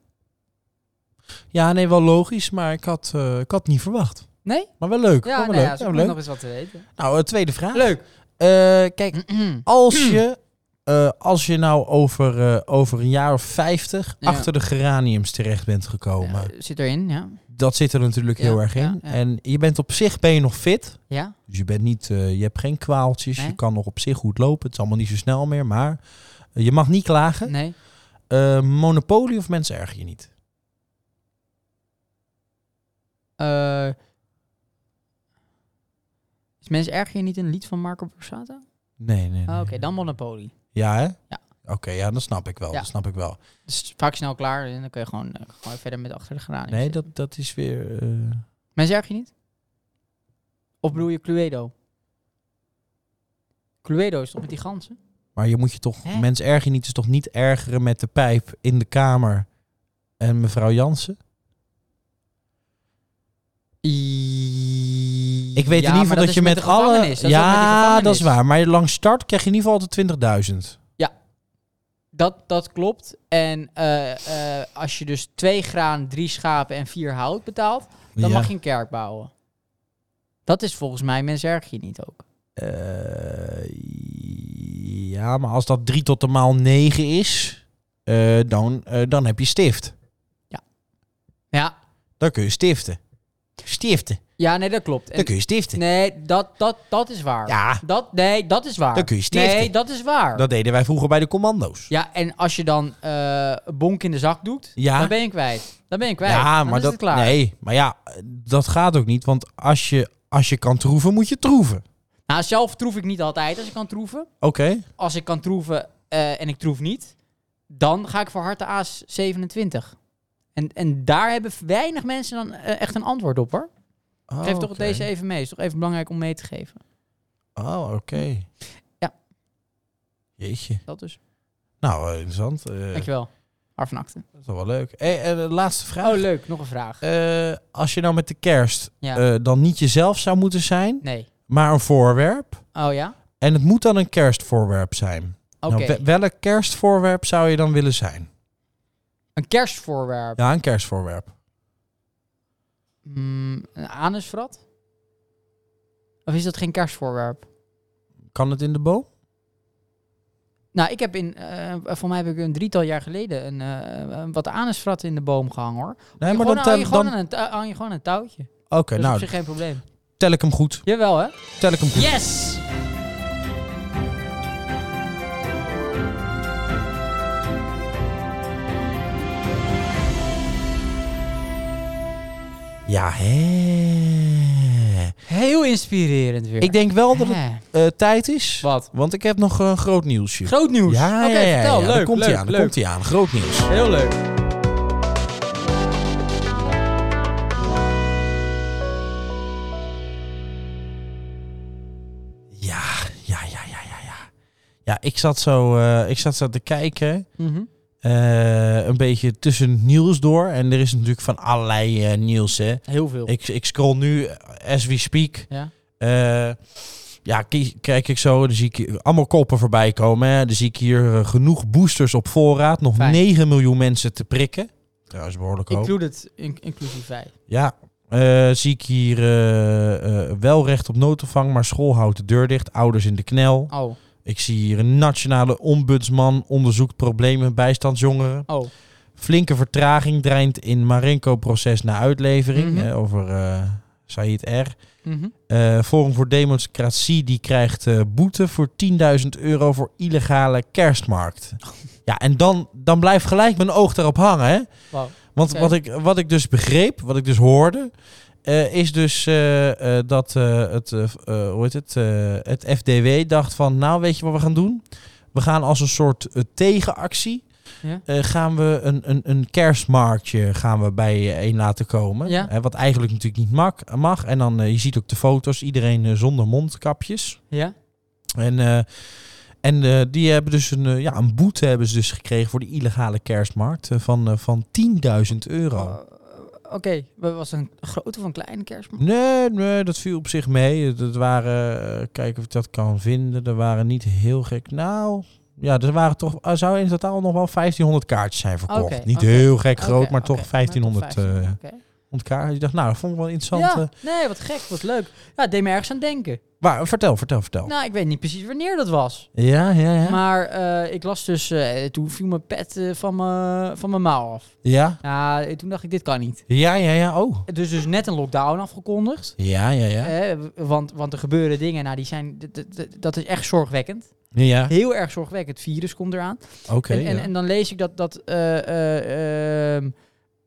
S2: Ja, nee, wel logisch, maar ik had, eh, ik had niet verwacht.
S1: Nee?
S2: Maar wel leuk.
S1: Ja,
S2: wel
S1: nou
S2: leuk. Nou, Ah.
S1: ja, ze
S2: wel
S1: moeten
S2: leuk.
S1: nog eens wat te weten.
S2: Nou, eh, tweede vraag.
S1: Leuk.
S2: Eh, kijk, als je eh, als je nou over, eh, over een jaar of 50
S1: Ja.
S2: achter de geraniums terecht bent gekomen.
S1: Eh, zit erin, ja.
S2: Dat zit er natuurlijk
S1: Ja,
S2: heel erg in.
S1: ja, ja.
S2: En je bent op zich ben je nog fit.
S1: Ja,
S2: Dus je, bent niet, eh, je hebt geen kwaaltjes.
S1: Nee.
S2: Je kan nog op zich goed lopen. Het is allemaal niet zo snel meer. Maar eh, je mag niet klagen.
S1: nee.
S2: Eh, monopolie of mensen erg je niet?
S1: Eh, is mensen erg je niet een lied van Marco Borsato?
S2: Nee, nee.
S1: Ah,
S2: nee.
S1: Oké, dan Monopoly.
S2: Ja, hè?
S1: Ja.
S2: Oké, ja, dat snap ik wel.
S1: Ja.
S2: Dat snap ik wel.
S1: Dus vaak snel klaar en dan kun je gewoon, eh, gewoon verder met achter de graan.
S2: Nee, dat, dat is weer... eh,
S1: Mensen erg je niet? Of bedoel je Cluedo? Cluedo is toch met die ganzen?
S2: Maar je moet je toch...
S1: Hè?
S2: Mensen erg je niet is toch niet ergeren met de pijp in de kamer en mevrouw Jansen? Ik weet in ieder geval dat, je met, alle... ja, dat is waar. Maar langs start krijg je in ieder geval altijd 20.000.
S1: Dat, dat klopt. En eh, eh, als je dus twee graan, drie schapen en vier hout betaalt, dan
S2: Ja.
S1: mag je een kerk bouwen. Dat is volgens mij mensen erg je niet ook.
S2: Eh, ja, maar als dat 3 tot de maal 9 is, eh, dan, eh, dan heb je stift.
S1: Ja,
S2: Dan kun je stiften. Stiften.
S1: ja nee, dat klopt. En-
S2: Dan kun je stiften.
S1: nee, dat, dat, dat is waar.
S2: Ja,
S1: Dat, nee, dat is waar.
S2: Dan kun je stiften.
S1: Nee, dat is waar.
S2: dat deden wij vroeger bij de commando's.
S1: Ja, en als je dan eh, bonk in de zak doet,
S2: Ja.
S1: dan ben je kwijt. Dan ben je kwijt.
S2: Ja,
S1: Dan
S2: maar
S1: is
S2: dat,
S1: het klaar.
S2: Nee, maar ja, dat gaat ook niet. Want als je, als je kan troeven, moet je troeven.
S1: Nou, zelf troef ik niet altijd als ik kan troeven.
S2: Oké.
S1: Als ik kan troeven eh, en ik troef niet, dan ga ik voor harte aas 27. En, en daar hebben weinig mensen dan eh, echt een antwoord op, hoor.
S2: Oh,
S1: Geef toch
S2: oké.
S1: deze even mee. Is toch even belangrijk om mee te geven.
S2: Oh, oké.
S1: Ja.
S2: Jeetje.
S1: Dat dus.
S2: Nou, eh, interessant. Eh,
S1: Dankjewel. Har van Akten.
S2: dat is wel wel leuk. Hey, en de laatste vraag.
S1: Oh, leuk. Nog een vraag.
S2: Eh, als je nou met de kerst
S1: Ja.
S2: eh, dan niet jezelf zou moeten zijn,
S1: Nee.
S2: maar een voorwerp.
S1: Oh ja?
S2: En het moet dan een kerstvoorwerp zijn.
S1: Oké.
S2: Nou, we- welk kerstvoorwerp zou je dan willen zijn?
S1: Een kerstvoorwerp.
S2: Ja, een kerstvoorwerp.
S1: Mm, een anusvrat? Of is dat geen kerstvoorwerp?
S2: Kan het in de boom?
S1: Nou, ik heb in, eh voor mij heb ik een drietal jaar geleden een, eh, een wat anusvrat in de boom gehangen hoor.
S2: Nee,
S1: Je
S2: maar
S1: gewoon-
S2: dan,
S1: hang je
S2: dan,
S1: gewoon
S2: dan-
S1: aan een, tou- hang je gewoon aan een touwtje.
S2: Oké,
S1: dat is op
S2: nou,
S1: zich geen probleem.
S2: tel ik hem goed.
S1: Jawel hè?
S2: Tel ik hem goed.
S1: Yes!
S2: Ja, hè.
S1: Heel inspirerend weer.
S2: Ik denk wel dat het
S1: Hè.
S2: eh, tijd is.
S1: Wat?
S2: Want ik heb nog een groot nieuwsje.
S1: Groot nieuws.
S2: Ja,
S1: Oké,
S2: ja, ja,
S1: vertel.
S2: ja.
S1: Leuk,
S2: Daar komt hij
S1: leuk,
S2: aan. Daar
S1: leuk.
S2: komt hij aan. Groot nieuws.
S1: Heel leuk.
S2: Ja, ja, ja, ja, ja, ja. Ja, ik zat zo, eh, ik zat zo te kijken.
S1: Mhm.
S2: eh, een beetje tussen het nieuws door. En er is natuurlijk van allerlei eh, nieuws, hè.
S1: Heel veel.
S2: Ik, ik scroll nu, eh, as we speak.
S1: Ja.
S2: Eh, ja, ki- kijk ik zo, dan zie ik hier allemaal koppen voorbij komen. Hè. Dan zie ik hier eh, genoeg boosters op voorraad. Nog
S1: Fijn.
S2: 9 miljoen mensen te prikken. Trouwens, behoorlijk hoog.
S1: Include het, in- inclusief wij.
S2: Ja, eh, zie ik hier eh, eh, wel recht op noodopvang, maar school houdt de deur dicht. Ouders in de knel.
S1: Oh,
S2: Ik zie hier een nationale ombudsman onderzoekt problemen bijstandsjongeren.
S1: oh.
S2: Flinke vertraging dreint in Marenko-proces na uitlevering
S1: Mhm.
S2: hè, over eh Said R.
S1: Mhm.
S2: Eh, Forum voor Democratie die krijgt eh, boete voor 10.000 euro voor illegale kerstmarkt. Ja, en dan, dan blijft gelijk mijn oog daarop hangen. Hè?
S1: Wow.
S2: Want
S1: Oké.
S2: wat, ik, wat ik dus begreep, wat ik dus hoorde, eh, is dus eh, eh, dat eh, het, eh, eh, hoe heet het, eh, het FDW dacht van, nou weet je wat we gaan doen? We gaan als een soort eh, tegenactie,
S1: Ja.
S2: eh, gaan we een, een, een kerstmarktje gaan we bijeen laten komen.
S1: Ja.
S2: Hè, wat eigenlijk natuurlijk niet mag. mag. En dan, eh, je ziet ook de foto's, iedereen eh, zonder mondkapjes.
S1: Ja?
S2: En, eh, en eh, die hebben dus een, eh, ja, een boete hebben ze dus gekregen voor de illegale kerstmarkt eh, van, eh, van 10.000 euro.
S1: Eh, Oké, we- was het een grote van kleine kerstman?
S2: Nee, nee, dat viel op zich mee. Het- Het waren, eh, kijken of ik dat kan vinden, er waren niet heel gek. Nou, ja, er waren toch, er zou in totaal nog wel 1500 kaartjes zijn verkocht.
S1: Oké,
S2: niet
S1: oké,
S2: heel gek
S1: Oké,
S2: groot, maar
S1: oké,
S2: toch 1500. eh,
S1: oké.
S2: ontkaart. Je dacht, nou, dat vond ik wel interessant. eh.
S1: Ja, nee, wat gek, wat leuk. Ja, het deed me ergens aan denken.
S2: Maar vertel, vertel, vertel.
S1: Nou, ik weet niet precies wanneer dat was.
S2: Ja, ja, Oh. ja.
S1: Maar eh, ik las dus, eh, toen viel mijn pet eh, van mijn van mijn mouw af.
S2: ja.
S1: Ja, eh, toen dacht ik, dit kan niet.
S2: Ja, ja, ja. Oh.
S1: Dus dus net een lockdown afgekondigd.
S2: Ja, ja, ja.
S1: Eh, w- want, want er gebeuren dingen, nou die zijn, d- d- d- dat is echt zorgwekkend.
S2: Ja,
S1: Heel erg zorgwekkend. Het virus komt eraan.
S2: oké.
S1: Eh, en, en,
S2: ja.
S1: en dan lees ik dat, dat eh, eh, ehm,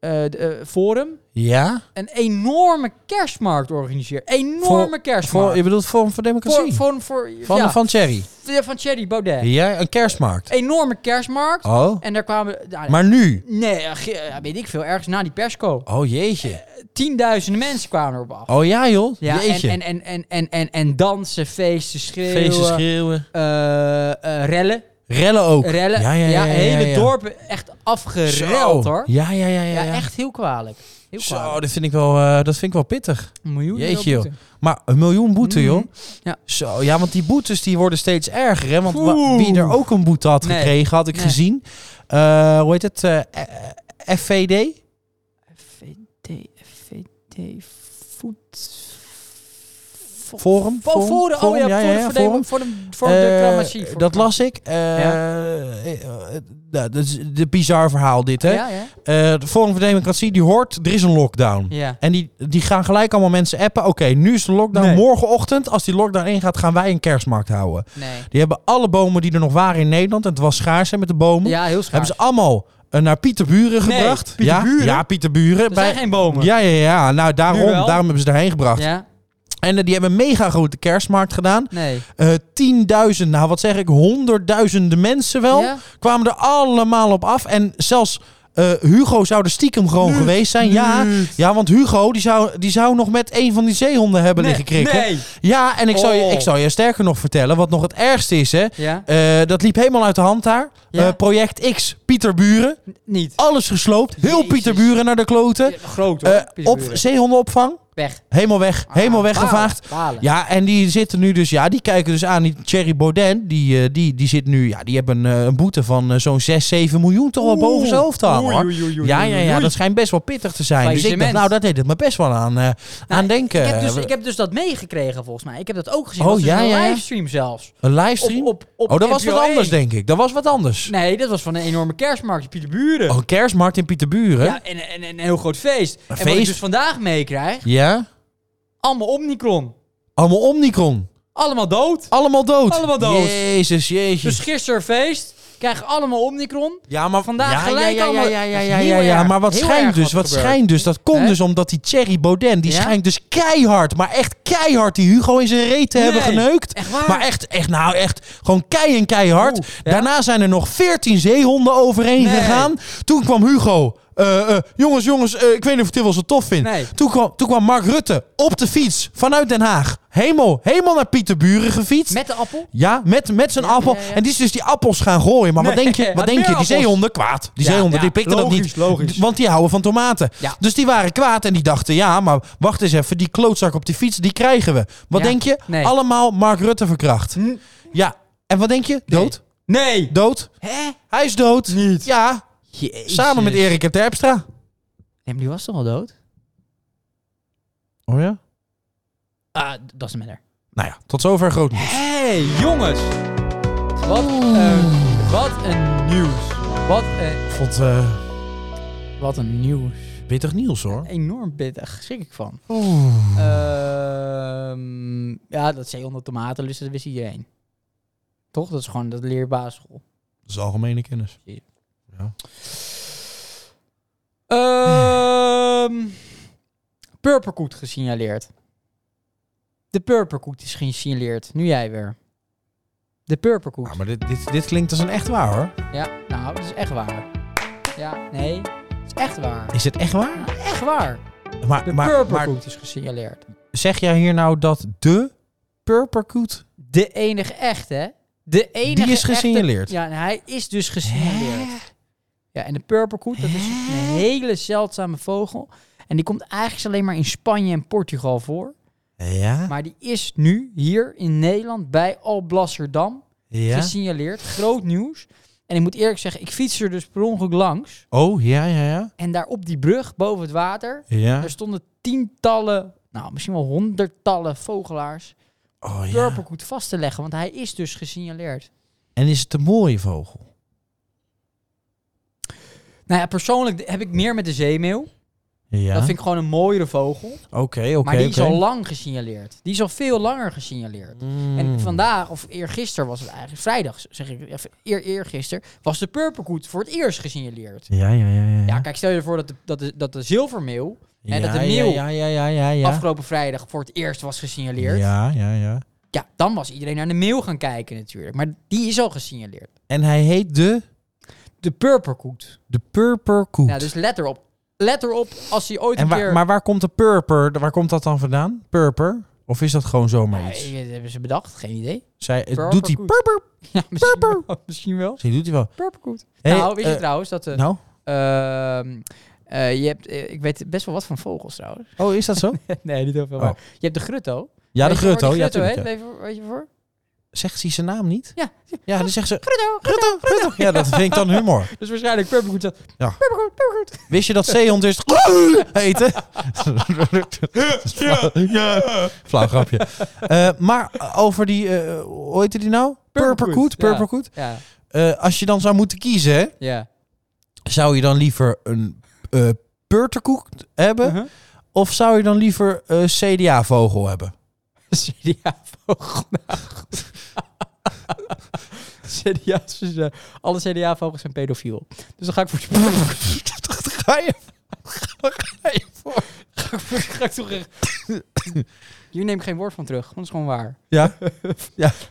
S1: eh, de, eh, Forum
S2: ja?
S1: een enorme kerstmarkt organiseert. Enorme kerstmarkt.
S2: Voor, je bedoelt Forum voor Democratie?
S1: Voor, voor, voor,
S2: van,
S1: ja,
S2: van Thierry.
S1: ja, van Thierry Baudet.
S2: Ja, een kerstmarkt.
S1: Enorme kerstmarkt.
S2: Oh,
S1: En daar kwamen... nou,
S2: maar nu?
S1: Nee, eh, ge- eh, weet ik veel. Ergens na die persco.
S2: Oh, jeetje.
S1: Tienduizenden mensen kwamen erop af.
S2: Oh ja, joh.
S1: ja, en,
S2: jeetje.
S1: en, en, en, en, en, en dansen, feesten, schreeuwen.
S2: Feesten schreeuwen.
S1: eh, eh, rellen.
S2: Rellen ook.
S1: Rellen.
S2: Ja, ja, ja. ja, ja,
S1: hele
S2: ja.
S1: dorpen echt
S2: Zo.
S1: afgereld, hoor.
S2: Ja, ja, ja, ja.
S1: Ja,
S2: ja.
S1: echt heel kwalijk. Heel
S2: Zo,
S1: kwalijk.
S2: dat vind ik wel, eh, dat vind ik wel pittig.
S1: Een miljoen euro
S2: Jeetje, joh.
S1: boete.
S2: Maar een miljoen boete,
S1: Mhm.
S2: joh.
S1: Ja.
S2: Zo, ja, want die boetes die worden steeds erger, hè. Want wa-
S1: Oeh.
S2: wie er ook een boete had
S1: Nee.
S2: gekregen, had ik
S1: Nee.
S2: gezien. Eh, hoe heet het? Eh, eh, FVD?
S1: FVD, FVD, voet... vo-
S2: Forum?
S1: Oh,
S2: Forum?
S1: Forum, oh
S2: Forum,
S1: ja,
S2: ja, ja, ja,
S1: Forum, voor
S2: Forum.
S1: de- voor de- voor de declamatie.
S2: Eh,
S1: voor
S2: dat
S1: de-
S2: las ik. Eh, eh, eh, nou, dat is een bizar verhaal dit, hè?
S1: Ja, ja.
S2: Eh, de Forum voor Democratie, die hoort, er is een lockdown.
S1: Ja.
S2: En die, die gaan gelijk allemaal mensen appen. Oké, nu is de lockdown.
S1: Nee.
S2: Morgenochtend, als die lockdown ingaat, gaan wij een kerstmarkt houden.
S1: Nee.
S2: Die hebben alle bomen die er nog waren in Nederland. En het was schaars hè, met de bomen.
S1: Ja, heel schaar.
S2: Hebben ze allemaal eh, naar Pieterburen
S1: Nee,
S2: gebracht.
S1: Pieterburen?
S2: Ja, ja, Pieterburen.
S1: Er zijn geen bomen.
S2: Ja, ja, ja. Nou, daarom,
S1: Nu wel.
S2: daarom hebben ze daarheen gebracht.
S1: Ja?
S2: En eh, die hebben een mega grote kerstmarkt gedaan.
S1: Nee.
S2: Eh, 10.000, nou wat zeg ik, honderdduizenden mensen wel.
S1: Ja?
S2: Kwamen er allemaal op af. En zelfs eh, Hugo zou er stiekem gewoon geweest zijn. Ja, ja, want Hugo die zou, die zou nog met een van die zeehonden hebben
S1: Nee,
S2: liggen krikken.
S1: nee.
S2: Ja, en ik zal, je,
S1: Oh.
S2: ik zal je sterker nog vertellen, wat nog het ergste is hè.
S1: Ja?
S2: Eh, dat liep helemaal uit de hand daar.
S1: Ja.
S2: Eh, project X, Pieterburen.
S1: Niet.
S2: Alles gesloopt. Heel
S1: Jezus.
S2: Pieterburen naar de kloten.
S1: Ja, Groot hoor.
S2: Eh op
S1: Pieterburen.
S2: zeehondenopvang.
S1: Weg.
S2: Helemaal weg. Helemaal
S1: Ah,
S2: weggevaagd.
S1: balen, balen.
S2: Ja, en die zitten nu dus, ja, die kijken dus aan die Thierry Baudin. Die, eh, die, die zit nu, ja, die hebben een, eh, een boete van eh, zo'n 6, 7 miljoen toch wel
S1: Oeh.
S2: boven zijn hoofd te hangen.
S1: Oei,
S2: hoor.
S1: oei, oei, oei,
S2: Ja, ja,
S1: oei,
S2: ja,
S1: oei.
S2: dat schijnt best wel pittig te zijn. Dus ik dacht,
S1: Faillissement.
S2: nou, dat deed het me best wel aan, eh, aan denken.
S1: Nou, Ik heb, dus, ik heb dus dat meegekregen volgens mij. Ik heb dat ook gezien.
S2: Oh,
S1: Dat was dus
S2: ja,
S1: een
S2: ja, ja.
S1: livestream zelfs.
S2: Een livestream?
S1: Op, op, op
S2: oh, dat was
S1: NPO
S2: wat
S1: 1.
S2: anders, denk ik. Dat was wat anders.
S1: Nee, dat was van een enorme kerstmarkt in Pieterburen.
S2: Oh, een kerstmarkt in Pieterburen. Ja.
S1: Ja, en, en, en een heel groot feest. en wat ik
S2: feest?
S1: dus vandaag meekrijg, allemaal Omnicron.
S2: Allemaal Oh, Omnicron.
S1: Allemaal dood.
S2: Allemaal dood.
S1: Allemaal dood.
S2: Jezus, jezus.
S1: Dus gisteren feest, krijgen allemaal Omnicron.
S2: Ja, maar
S1: vandaag
S2: ja,
S1: gelijk
S2: ja, ja,
S1: allemaal-
S2: ja, ja,
S1: Dat is
S2: ja,
S1: heel
S2: ja, ja,
S1: erg.
S2: maar wat
S1: Heel erg
S2: schijnt dus,
S1: wat
S2: wat
S1: gebeurt.
S2: schijnt dus, dat komt
S1: Hè?
S2: dus omdat die Thierry Baudin, die
S1: Ja?
S2: schijnt dus keihard, maar echt keihard die Hugo in zijn reet te
S1: Nee,
S2: hebben geneukt.
S1: echt waar?
S2: Maar echt, echt, nou echt, gewoon kei en keihard.
S1: Oeh, ja.
S2: Daarna zijn er nog veertien zeehonden overheen
S1: Nee.
S2: gegaan. Toen kwam Hugo... eh, eh, jongens, jongens, eh, ik weet niet of ik dit wel zo tof vind.
S1: Nee.
S2: Toen, kwam, toen kwam Mark Rutte op de fiets vanuit Den Haag. Helemaal, helemaal naar Pieterburen gefietst.
S1: Met de appel.
S2: Ja, met, met zijn
S1: Ja,
S2: appel.
S1: ja, ja.
S2: En die is dus die appels gaan gooien. Maar
S1: Nee,
S2: wat denk je?
S1: had
S2: Wat denk
S1: meer
S2: je? Die
S1: appels.
S2: zeehonden kwaad. Die
S1: Ja,
S2: zeehonden
S1: ja,
S2: die pikten dat
S1: logisch,
S2: niet.
S1: logisch.
S2: D- Want die houden van tomaten.
S1: Ja.
S2: Dus die waren kwaad en die dachten: ja, maar wacht eens even. Die klootzak op die fiets, die krijgen we. Wat
S1: Ja,
S2: denk je?
S1: nee.
S2: Allemaal Mark Rutte verkracht.
S1: Hm.
S2: Ja. En wat denk je? Dood.
S1: Nee.
S2: Dood.
S1: Hè?
S2: Hij is dood. Ja.
S1: Jezus.
S2: Samen met Erik en Terpstra.
S1: Nee, maar die was toch al dood?
S2: Oh ja?
S1: Ah, d- dat is een minder.
S2: Nou ja, tot zover groot nieuws.
S1: Hé, jongens. Wat een, wat een nieuws. Wat een,
S2: Ik vond eh
S1: wat een nieuws.
S2: pittig nieuws hoor.
S1: Enorm pittig, schrik ik van.
S2: Oeh.
S1: Ehm, ja, dat zeehonden tomaten lusten, dat wist iedereen. Toch? Dat is gewoon dat leerbasisschool.
S2: Dat is algemene kennis.
S1: Ehm Purperkoet gesignaleerd. De Purperkoet is gesignaleerd. Nu jij weer. De Purperkoet.
S2: Ja, maar dit, dit, dit klinkt als een echt waar hoor.
S1: Ja, nou, dat is echt waar. Ja, nee. Het is echt waar.
S2: Is dit echt waar?
S1: Ja, echt waar. De
S2: Maar, maar, maar
S1: Purperkoet is gesignaleerd.
S2: zeg jij hier nou dat de Purperkoet...
S1: De enige echte, hè? De enige
S2: is
S1: echte-
S2: gesignaleerd.
S1: ja, en hij is dus gesignaleerd. Ja, en de purperkoet, dat is een hele zeldzame vogel. En die komt eigenlijk alleen maar in Spanje en Portugal voor.
S2: Ja?
S1: Maar die is nu hier in Nederland bij Alblasserdam
S2: Ja?
S1: gesignaleerd. Groot nieuws. En ik moet eerlijk zeggen, ik fiets er dus per ongeluk langs.
S2: Oh, ja, ja, ja.
S1: En daar op die brug, boven het water,
S2: Ja.
S1: er stonden tientallen, nou misschien wel honderdtallen vogelaars.
S2: Oh, ja.
S1: Purperkoet vast te leggen, want hij is dus gesignaleerd.
S2: En is het een mooie vogel?
S1: Nou ja, persoonlijk heb ik meer met de zeemeeuw.
S2: Ja.
S1: Dat vind ik gewoon een mooiere vogel.
S2: Oké, oké,
S1: maar die
S2: oké.
S1: is al lang gesignaleerd. Die is al veel langer gesignaleerd.
S2: Mm.
S1: En vandaag, of eergisteren was het eigenlijk, vrijdag zeg ik, even, eer, eergisteren, was de purperkoet voor het eerst gesignaleerd.
S2: Ja, ja, ja, ja.
S1: Ja, kijk, stel je ervoor dat de, dat de, dat de zilvermeeuw
S2: ja,
S1: en dat de
S2: ja,
S1: meeuw
S2: Ja, ja, ja, ja, ja.
S1: afgelopen vrijdag voor het eerst was gesignaleerd. Ja.
S2: Ja, ja, ja.
S1: dan was iedereen naar de meeuw gaan kijken natuurlijk. Maar die is al gesignaleerd.
S2: En hij heet de,
S1: De purperkoet.
S2: de purperkoet.
S1: Nou, dus let erop. Let erop als hij ooit
S2: en
S1: een
S2: waar,
S1: keer...
S2: Maar waar komt de purper, waar komt dat dan vandaan? Purper? Of is dat gewoon zomaar
S1: Nee,
S2: iets?
S1: dat hebben ze bedacht, geen idee.
S2: Zij, het
S1: Purper
S2: doet hij
S1: koet.
S2: purper?
S1: Ja, misschien wel. Misschien wel.
S2: Misschien doet hij wel.
S1: Purperkoet.
S2: Hey,
S1: nou, weet je
S2: eh,
S1: trouwens dat... eh
S2: Nou?
S1: ehm, eh, je hebt, eh, ik weet best wel wat van vogels trouwens.
S2: Oh, is dat zo?
S1: nee, niet heel veel.
S2: Oh.
S1: Maar je hebt de grutto.
S2: ja, de
S1: Weet je waar die
S2: grutto. Ja,
S1: grutto
S2: tuurlijk.
S1: heet?
S2: ja.
S1: Weet je- Weet je voor?
S2: Zegt ze zijn naam niet?
S1: Ja.
S2: Ja, dan zegt ze... Grutto, grutto, grutto. Ja, dat vind ik dan humor.
S1: Dus waarschijnlijk Purpergoed zat...
S2: Ja.
S1: Purpergoed, Purpergoed.
S2: Wist je dat zeehond is eten? Flauw grapje. Eh, maar over die, eh, hoe heette die nou? Purperkoet.
S1: Purperkoet, ja.
S2: Purperkoet.
S1: Ja,
S2: Eh, als je dan zou moeten kiezen, hè,
S1: ja.
S2: zou je dan liever een eh purterkoek hebben?
S1: Uh-huh.
S2: Of zou je dan liever eh, een CDA-vogel hebben?
S1: CDA-vogel. CDA's, is, eh, alle CDA-vogels zijn pedofiel. Dus dan ga ik voor...
S2: Ga je? Ga je voor?
S1: ga ik voor- ga ik toch echt... Hier neem ik geen woord van terug. want Dat is gewoon waar.
S2: Ja,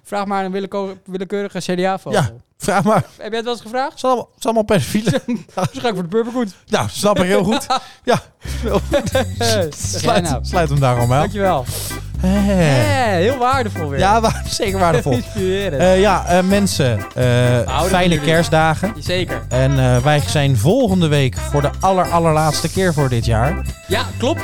S1: Vraag maar een willeke- willekeurige CDA-vogel.
S2: ja, vraag maar.
S1: Heb jij het wel eens gevraagd?
S2: Het is allemaal, het is allemaal pedofielen.
S1: Dus ga ik voor de Purpergoed.
S2: Nou, snap ik heel goed. Ja,
S1: Sluit Eh, nou.
S2: sluit, sluit hem daarom maar.
S1: Dankjewel.
S2: Hey.
S1: Eh, heel waardevol weer.
S2: Ja, waar, zeker waardevol.
S1: Inspirerend.
S2: Eh, ja, eh, mensen, eh,
S1: van
S2: fijne
S1: jullie.
S2: kerstdagen.
S1: Zeker.
S2: En eh, wij zijn volgende week voor de aller, allerlaatste keer voor dit jaar.
S1: Ja, klopt.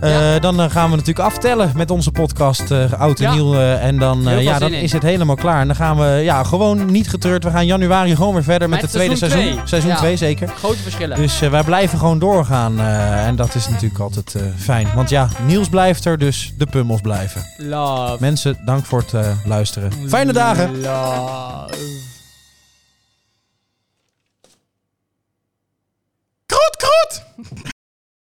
S2: Eh,
S1: Ja.
S2: Dan eh, gaan we natuurlijk aftellen met onze podcast eh Oud en
S1: Ja.
S2: Nieuw. eh, en dan, eh,
S1: Heel veel
S2: ja,
S1: zin
S2: dan
S1: in.
S2: is het helemaal klaar. En dan gaan we ja, gewoon niet getreurd. We gaan januari gewoon weer verder met,
S1: Met
S2: het tweede
S1: seizoen
S2: seizoen.
S1: twee.
S2: Seizoen
S1: Ja.
S2: 2 zeker.
S1: Grote verschillen.
S2: Dus eh, wij blijven gewoon doorgaan. eh, en dat is natuurlijk altijd eh, fijn. Want ja, Niels blijft er, dus de pummels blijven.
S1: Love.
S2: Mensen, dank voor het eh, luisteren. Dus- Fijne dagen!
S1: Love.
S2: Kroet, kroet!